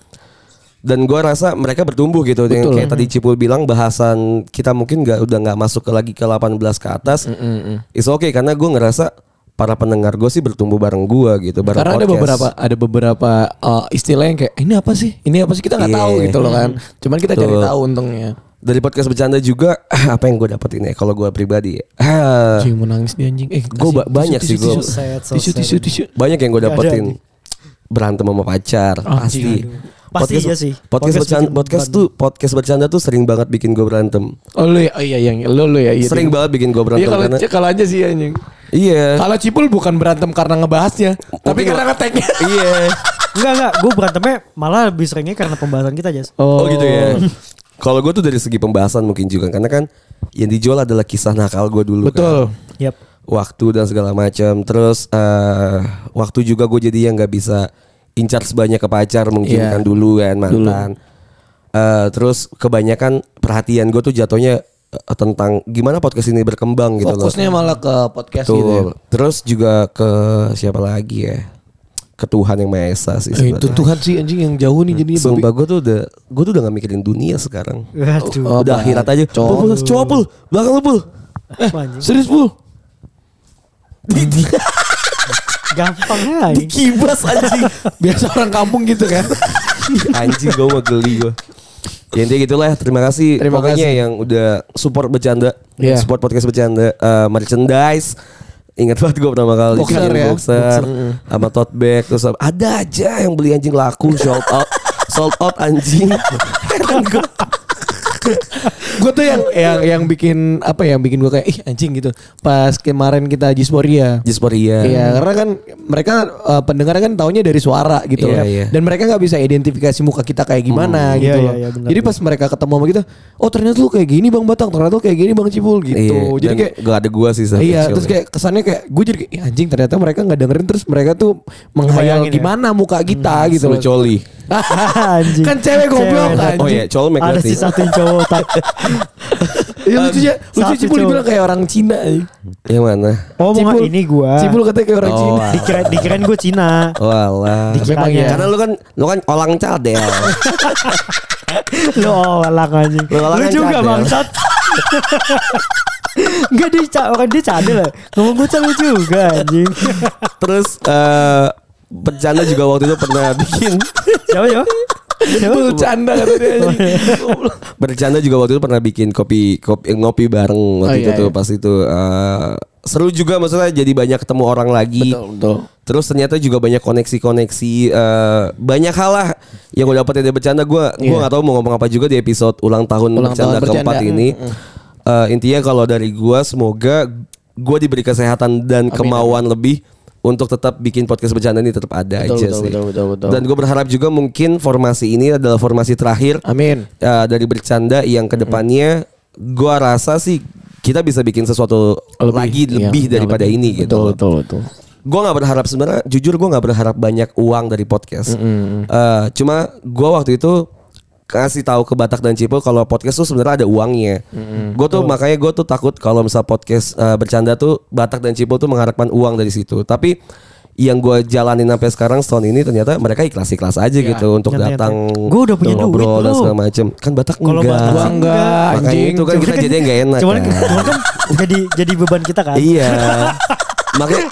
Speaker 2: dan gue rasa mereka bertumbuh gitu yang kayak tadi Cipul bilang bahasan kita mungkin nggak udah nggak masuk ke lagi ke 18 ke atas
Speaker 3: Mm,
Speaker 2: it's okay karena gue ngerasa para pendengar gue sih bertumbuh bareng gue gitu bareng
Speaker 3: Karena ada
Speaker 2: podcast.
Speaker 3: beberapa ada beberapa uh, istilah yang kayak ini apa sih? Ini apa sih kita nggak
Speaker 2: Iya.
Speaker 3: tahu gitu loh kan. Cuman kita cari tahu untungnya.
Speaker 2: dari podcast bercanda juga apa yang gue dapetin ya kalau gue pribadi ya Ah,
Speaker 3: Anjing mau nangis dia anjing. Eh,
Speaker 2: Gua ba- banyak sih, gua-
Speaker 3: gue.
Speaker 4: Sad, so
Speaker 3: Tisu tisu tisu.
Speaker 2: banyak yang gue
Speaker 4: Nggak ada,
Speaker 2: dapetin
Speaker 4: anjing. Ah, iya,
Speaker 2: berantem sama pacar pasti
Speaker 4: Pasti
Speaker 2: podcast,
Speaker 4: iya sih.
Speaker 2: podcast, bercanda
Speaker 4: bikin
Speaker 2: podcast
Speaker 4: beban.
Speaker 2: tuh podcast bercanda tuh sering banget bikin gue berantem
Speaker 3: Oh lu ya, oh, iya yang lu lu ya. Iya,
Speaker 2: sering
Speaker 3: dia-
Speaker 2: banget bikin gue
Speaker 3: Iya
Speaker 2: berantem
Speaker 3: kalau
Speaker 2: karena
Speaker 3: kalau aja sih anjing.
Speaker 2: iya
Speaker 3: Kalau Cipul bukan berantem karena ngebahasnya,
Speaker 2: Mungkin
Speaker 3: tapi karena ngeteknya.
Speaker 2: iya
Speaker 4: Enggak enggak, gue berantemnya malah lebih seringnya karena pembahasan kita Jas.
Speaker 2: oh gitu ya kalau gue tuh dari segi pembahasan mungkin juga karena kan yang dijual adalah kisah nakal gue dulu kan.
Speaker 3: Betul.
Speaker 4: Yap.
Speaker 2: waktu dan segala macam. Terus eh waktu juga gue jadi yang nggak bisa incar sebanyak ke pacar mungkin
Speaker 3: Iya.
Speaker 2: kan dulu kan mantan. Eh, terus kebanyakan perhatian gue tuh jatuhnya eh, tentang gimana podcast ini
Speaker 3: Oh,
Speaker 2: berkembang gitu loh.
Speaker 3: Fokusnya malah ke podcast
Speaker 2: Betul.
Speaker 3: gitu. ya.
Speaker 2: Terus juga ke siapa lagi ya? ke Tuhan yang Maha Esa sih
Speaker 3: Eh, itu Tuhan sih anjing yang jauh nih jadinya babi.
Speaker 2: Sumpah gue tuh udah Gue tuh udah gak mikirin dunia sekarang
Speaker 4: Waduh.
Speaker 3: Oh,
Speaker 2: Udah akhirat aja
Speaker 3: Cowok.
Speaker 2: Pul, pul, Cowok pul Belakang lu pul
Speaker 3: Eh,
Speaker 4: Apa anjing?
Speaker 3: Serius pul?
Speaker 4: Gampang ya anjing.
Speaker 2: Kibas anjing
Speaker 3: Biasa orang kampung gitu kan.
Speaker 2: Anjing gue mah geli gue Ya intinya gitu lah Terima kasih
Speaker 3: Terima
Speaker 2: Pokoknya
Speaker 3: kasih.
Speaker 2: yang udah Support bercanda
Speaker 3: Iya.
Speaker 2: Support podcast bercanda Eh, Merchandise Ingat banget gue pertama kali
Speaker 3: Boxer
Speaker 2: bikin
Speaker 3: ya.
Speaker 2: Boxer Sama tote bag Terus sama- ada aja yang beli anjing laku Sold out Sold out anjing Heran gue
Speaker 3: gue tuh yang yang yang bikin apa ya? Yang bikin gue kayak ih anjing gitu. Pas kemarin kita Jisporia.
Speaker 2: Disporia
Speaker 3: Iya, karena kan mereka eh, pendengar kan taunya dari suara gitu
Speaker 2: Iya,
Speaker 3: loh.
Speaker 2: iya.
Speaker 3: Dan mereka nggak bisa identifikasi muka kita kayak gimana
Speaker 4: Hmm.
Speaker 3: gitu
Speaker 4: Iya,
Speaker 3: loh.
Speaker 4: iya, iya, benar,
Speaker 3: Jadi pas mereka ketemu sama kita, oh ternyata lu kayak gini Bang Batang, ternyata lu kayak gini Bang Cipul gitu. Jadi kayak
Speaker 2: gak Iya, ada gue sih saat
Speaker 3: Iya,
Speaker 2: kecil
Speaker 3: terus
Speaker 2: ya.
Speaker 3: kayak kesannya kayak gue jadi kayak "Ih, anjing ternyata mereka nggak dengerin terus mereka tuh menghayal
Speaker 4: Ngebayangin ya?
Speaker 3: gimana muka kita gitu
Speaker 2: Lu
Speaker 3: loh.
Speaker 2: coli
Speaker 4: Anjing.
Speaker 3: Kan cewek goblok,
Speaker 4: Cewek,
Speaker 2: Hmm.
Speaker 3: anjing.
Speaker 2: Oh iya colmek
Speaker 4: Ada
Speaker 2: berarti
Speaker 4: si satu yang cowok tak.
Speaker 3: Iya lucunya, lucu
Speaker 4: satu
Speaker 3: Cipul
Speaker 4: cowok.
Speaker 3: dibilang kayak orang Cina. ya.
Speaker 2: Yang mana
Speaker 4: Oh,
Speaker 3: Cipul.
Speaker 4: mau ini gua.
Speaker 3: Cipul katanya kayak orang
Speaker 2: Oh,
Speaker 3: Cina.
Speaker 2: ah.
Speaker 4: Dikira dikirain gua Cina.
Speaker 2: Walah
Speaker 4: Dikiranya.
Speaker 3: Memang ya.
Speaker 2: Karena lu kan Lu kan olang cadel
Speaker 4: Lo walang oh, anjing.
Speaker 2: Lo walang
Speaker 4: Lu
Speaker 2: kan
Speaker 4: juga
Speaker 2: cadel.
Speaker 4: bangsat. Enggak dia ca- orang dia cadel lah. Ngomong gua cadel juga anjing.
Speaker 2: Terus eh Bencana juga waktu itu pernah bikin
Speaker 4: Siapa siapa? Siapa?
Speaker 3: Cipul canda katanya anjing. Goblok.
Speaker 2: Bercanda juga waktu itu pernah bikin kopi kopi ngopi bareng
Speaker 3: Oh,
Speaker 2: waktu itu
Speaker 3: iya,
Speaker 2: tuh
Speaker 3: iya.
Speaker 2: pas itu eh, seru juga maksudnya jadi banyak ketemu orang lagi.
Speaker 3: Betul, betul.
Speaker 2: Terus ternyata juga banyak koneksi-koneksi eh, banyak hal lah yang gue dapetin dari bercanda gue. Gue
Speaker 3: Iya.
Speaker 2: nggak tahu mau ngomong apa juga di episode ulang tahun
Speaker 3: Ulang
Speaker 2: bercanda
Speaker 3: tahun
Speaker 2: keempat
Speaker 3: bercanda.
Speaker 2: ini. Eh, intinya kalau dari gue semoga gue diberi kesehatan dan kemauan lebih untuk tetap bikin podcast bercanda ini tetap ada
Speaker 3: Betul,
Speaker 2: aja
Speaker 3: betul,
Speaker 2: sih.
Speaker 3: betul, betul, betul.
Speaker 2: Dan gue berharap juga mungkin formasi ini adalah formasi terakhir
Speaker 3: Amin.
Speaker 2: eh, dari bercanda yang kedepannya gua rasa sih kita bisa bikin sesuatu lagi
Speaker 3: Iya,
Speaker 2: lebih
Speaker 3: iya,
Speaker 2: daripada
Speaker 3: lebih.
Speaker 2: ini gitu.
Speaker 3: Betul, betul, betul.
Speaker 2: Gue nggak berharap sebenarnya, jujur gue nggak berharap banyak uang dari podcast. Eh, cuma gua waktu itu kasih tahu ke Batak dan Cipul kalau podcast tuh sebenarnya ada uangnya. Gue tuh makanya gue tuh takut kalau misal podcast eh, bercanda tuh Batak dan Cipul tuh mengharapkan uang dari situ. Tapi yang gue jalanin sampai sekarang setahun ini ternyata mereka ikhlas-ikhlas aja gitu untuk
Speaker 4: Nyantai-nyantai.
Speaker 2: datang
Speaker 4: Iya, Gua udah punya
Speaker 2: ngobrol
Speaker 4: duit
Speaker 2: dan
Speaker 4: loh.
Speaker 2: segala macem. Kan Batak
Speaker 4: Kalau
Speaker 2: enggak.
Speaker 4: Batak
Speaker 3: Gua
Speaker 4: Anjing,
Speaker 3: enggak
Speaker 2: Makanya
Speaker 3: anjing.
Speaker 2: itu kan kita jadinya nggak enak.
Speaker 4: Cuman
Speaker 2: kan.
Speaker 4: kan, cuman kan jadi jadi beban kita kan.
Speaker 2: Iya. Makanya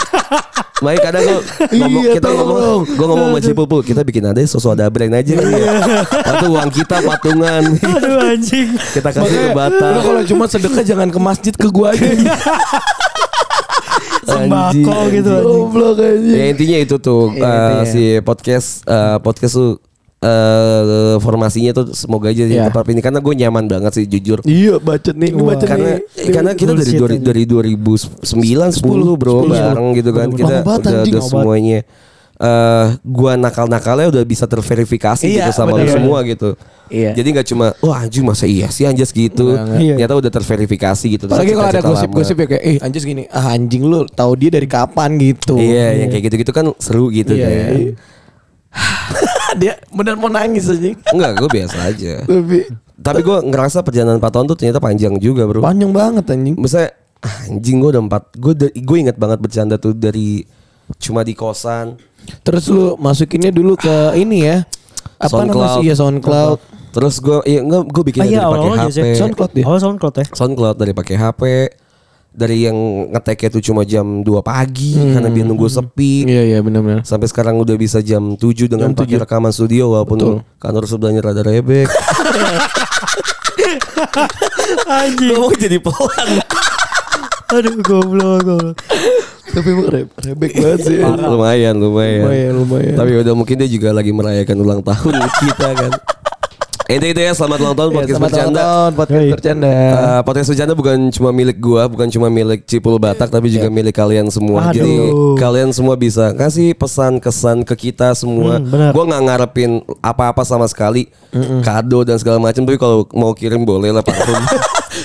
Speaker 2: Makanya kadang gue ngomong,
Speaker 3: Iya,
Speaker 2: kita ngomong,
Speaker 3: tolong. Iya.
Speaker 2: gue ngomong sama Cipul, "Pul, kita bikin ada sosok ada brand aja kali ya. Waktu uang kita patungan,
Speaker 4: Aduh anjing.
Speaker 2: kita kasih ke Batak.
Speaker 3: Lu kalau cuma sedekah jangan ke masjid ke gua aja.
Speaker 2: Anjing,
Speaker 4: Sembako
Speaker 2: anjing.
Speaker 4: gitu anjing.
Speaker 3: Goblok
Speaker 2: Ya
Speaker 3: anjing.
Speaker 2: intinya itu tuh
Speaker 3: Iya,
Speaker 2: eh,
Speaker 3: intinya.
Speaker 2: si podcast eh, podcast tuh eh, formasinya tuh semoga aja
Speaker 3: Iya.
Speaker 2: yeah. tetap ini karena gue nyaman banget sih jujur.
Speaker 3: Iya, bacot nih, ini
Speaker 4: Wah.
Speaker 3: bacot
Speaker 2: karena
Speaker 3: nih.
Speaker 2: eh, karena kita dari
Speaker 4: Bullshit
Speaker 2: dua-
Speaker 4: aja.
Speaker 2: dari 2009 10 bro
Speaker 3: 10.
Speaker 2: bareng gitu kan
Speaker 3: Bener-bener.
Speaker 2: kita
Speaker 3: Lama banget,
Speaker 2: udah,
Speaker 3: anjing,
Speaker 2: udah
Speaker 3: lama banget.
Speaker 2: semuanya eh gua nakal-nakalnya udah bisa terverifikasi
Speaker 3: Iya,
Speaker 2: gitu sama lu
Speaker 3: bener.
Speaker 2: semua gitu.
Speaker 3: Iya.
Speaker 2: Jadi nggak cuma wah anjing masa iya sih anjas gitu.
Speaker 3: Enggak,
Speaker 4: enggak.
Speaker 2: Ternyata udah terverifikasi gitu.
Speaker 3: Apalagi kalau ada
Speaker 2: Cita-cita
Speaker 3: gosip-gosip
Speaker 2: lama.
Speaker 3: ya kayak eh anjing gini, ah anjing lu tahu dia dari kapan gitu.
Speaker 2: Iya, yang kayak gitu-gitu kan seru gitu
Speaker 3: Iya,
Speaker 2: kan.
Speaker 3: iya. dia benar mau nangis anjing.
Speaker 2: Enggak, gue biasa aja.
Speaker 3: Lebih
Speaker 2: Tapi gue ngerasa perjalanan 4 tahun tuh ternyata panjang juga bro.
Speaker 3: panjang banget anjing.
Speaker 2: Misalnya anjing gue udah empat, gue gue inget banget bercanda tuh dari cuma di kosan,
Speaker 3: Terus lu masukinnya dulu ke ini ya. Apa namanya sih? Iya, SoundCloud.
Speaker 2: Terus gue iya enggak gue bikin
Speaker 4: Ah,
Speaker 2: dari
Speaker 4: iya,
Speaker 2: pakai
Speaker 4: awal-awal
Speaker 2: HP.
Speaker 4: aja sih.
Speaker 3: SoundCloud dia.
Speaker 4: Oh SoundCloud ya.
Speaker 2: SoundCloud dari pakai HP. Dari yang ngeteknya tuh cuma jam 2 pagi karena biar nunggu sepi.
Speaker 3: Hmm. Iya, iya benar-benar.
Speaker 2: Sampai sekarang udah bisa jam 7 dengan pakai rekaman studio walaupun kantor sebelahnya rada rebek.
Speaker 4: Anjing.
Speaker 2: Ngomong jadi pelan.
Speaker 4: Aduh goblok goblok.
Speaker 3: Tapi emang re- rebek banget sih.
Speaker 2: lumayan, lumayan.
Speaker 3: Lumayan, lumayan.
Speaker 2: Tapi udah mungkin dia juga lagi merayakan ulang tahun kita kan. Itu itu ya selamat ulang tahun
Speaker 3: Iya,
Speaker 2: podcast
Speaker 3: selamat ulang
Speaker 2: bercanda.
Speaker 3: tahun, podcast
Speaker 4: Yoi.
Speaker 3: bercanda.
Speaker 2: Eh, podcast bercanda bukan cuma milik gua, bukan cuma milik Cipul Batak, tapi juga milik kalian semua. Jadi
Speaker 4: Aduh.
Speaker 2: kalian semua bisa kasih pesan kesan ke kita semua.
Speaker 4: Hmm, benar.
Speaker 2: gua nggak ngarepin apa-apa sama sekali, kado dan segala macam. Tapi kalau mau kirim boleh lah parfum.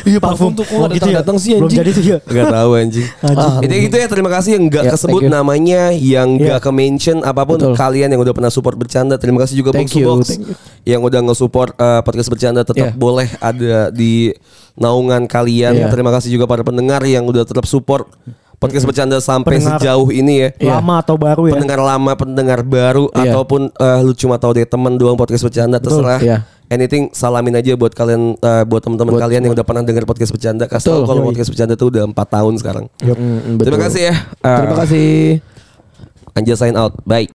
Speaker 3: Iya, parfum tuh kok
Speaker 4: Belum gitu ya?
Speaker 3: datang-datang sih
Speaker 4: Belum
Speaker 3: anjing.
Speaker 4: jadi tuh ya.
Speaker 2: Gak tahu anjing.
Speaker 4: Anjing.
Speaker 2: Itu gitu ya terima kasih yang
Speaker 3: Ya,
Speaker 2: nggak
Speaker 3: thank
Speaker 2: kesebut
Speaker 3: you.
Speaker 2: namanya,
Speaker 4: Ya.
Speaker 2: yang nggak ke mention apapun
Speaker 3: Betul.
Speaker 2: kalian yang udah pernah support bercanda. Terima kasih juga
Speaker 3: Thank
Speaker 2: Bungsu
Speaker 3: you,
Speaker 2: Box
Speaker 3: thank you. Ya.
Speaker 2: yang udah nge-support eh, podcast bercanda tetap
Speaker 3: Yeah.
Speaker 2: boleh ada di naungan kalian.
Speaker 3: Yeah. Ya.
Speaker 2: Terima kasih juga para pendengar yang udah tetap support
Speaker 3: Hmm.
Speaker 2: podcast bercanda sampai
Speaker 4: Pendengar.
Speaker 2: sejauh ini ya.
Speaker 4: Lama atau baru ya.
Speaker 2: Pendengar lama, pendengar baru
Speaker 3: Iya.
Speaker 2: ataupun eh, lu cuma tahu dari teman doang podcast bercanda terserah.
Speaker 3: iya.
Speaker 2: Anything salamin aja buat kalian eh, buat teman-teman kalian yang udah pernah dengar podcast bercanda. Kasih tahu
Speaker 3: Betul.
Speaker 2: kalau podcast bercanda tuh udah 4 tahun sekarang.
Speaker 3: Mm, mm,
Speaker 2: Terima
Speaker 3: betul.
Speaker 2: kasih ya. Eh,
Speaker 3: Terima kasih.
Speaker 2: Anja sign out. Bye.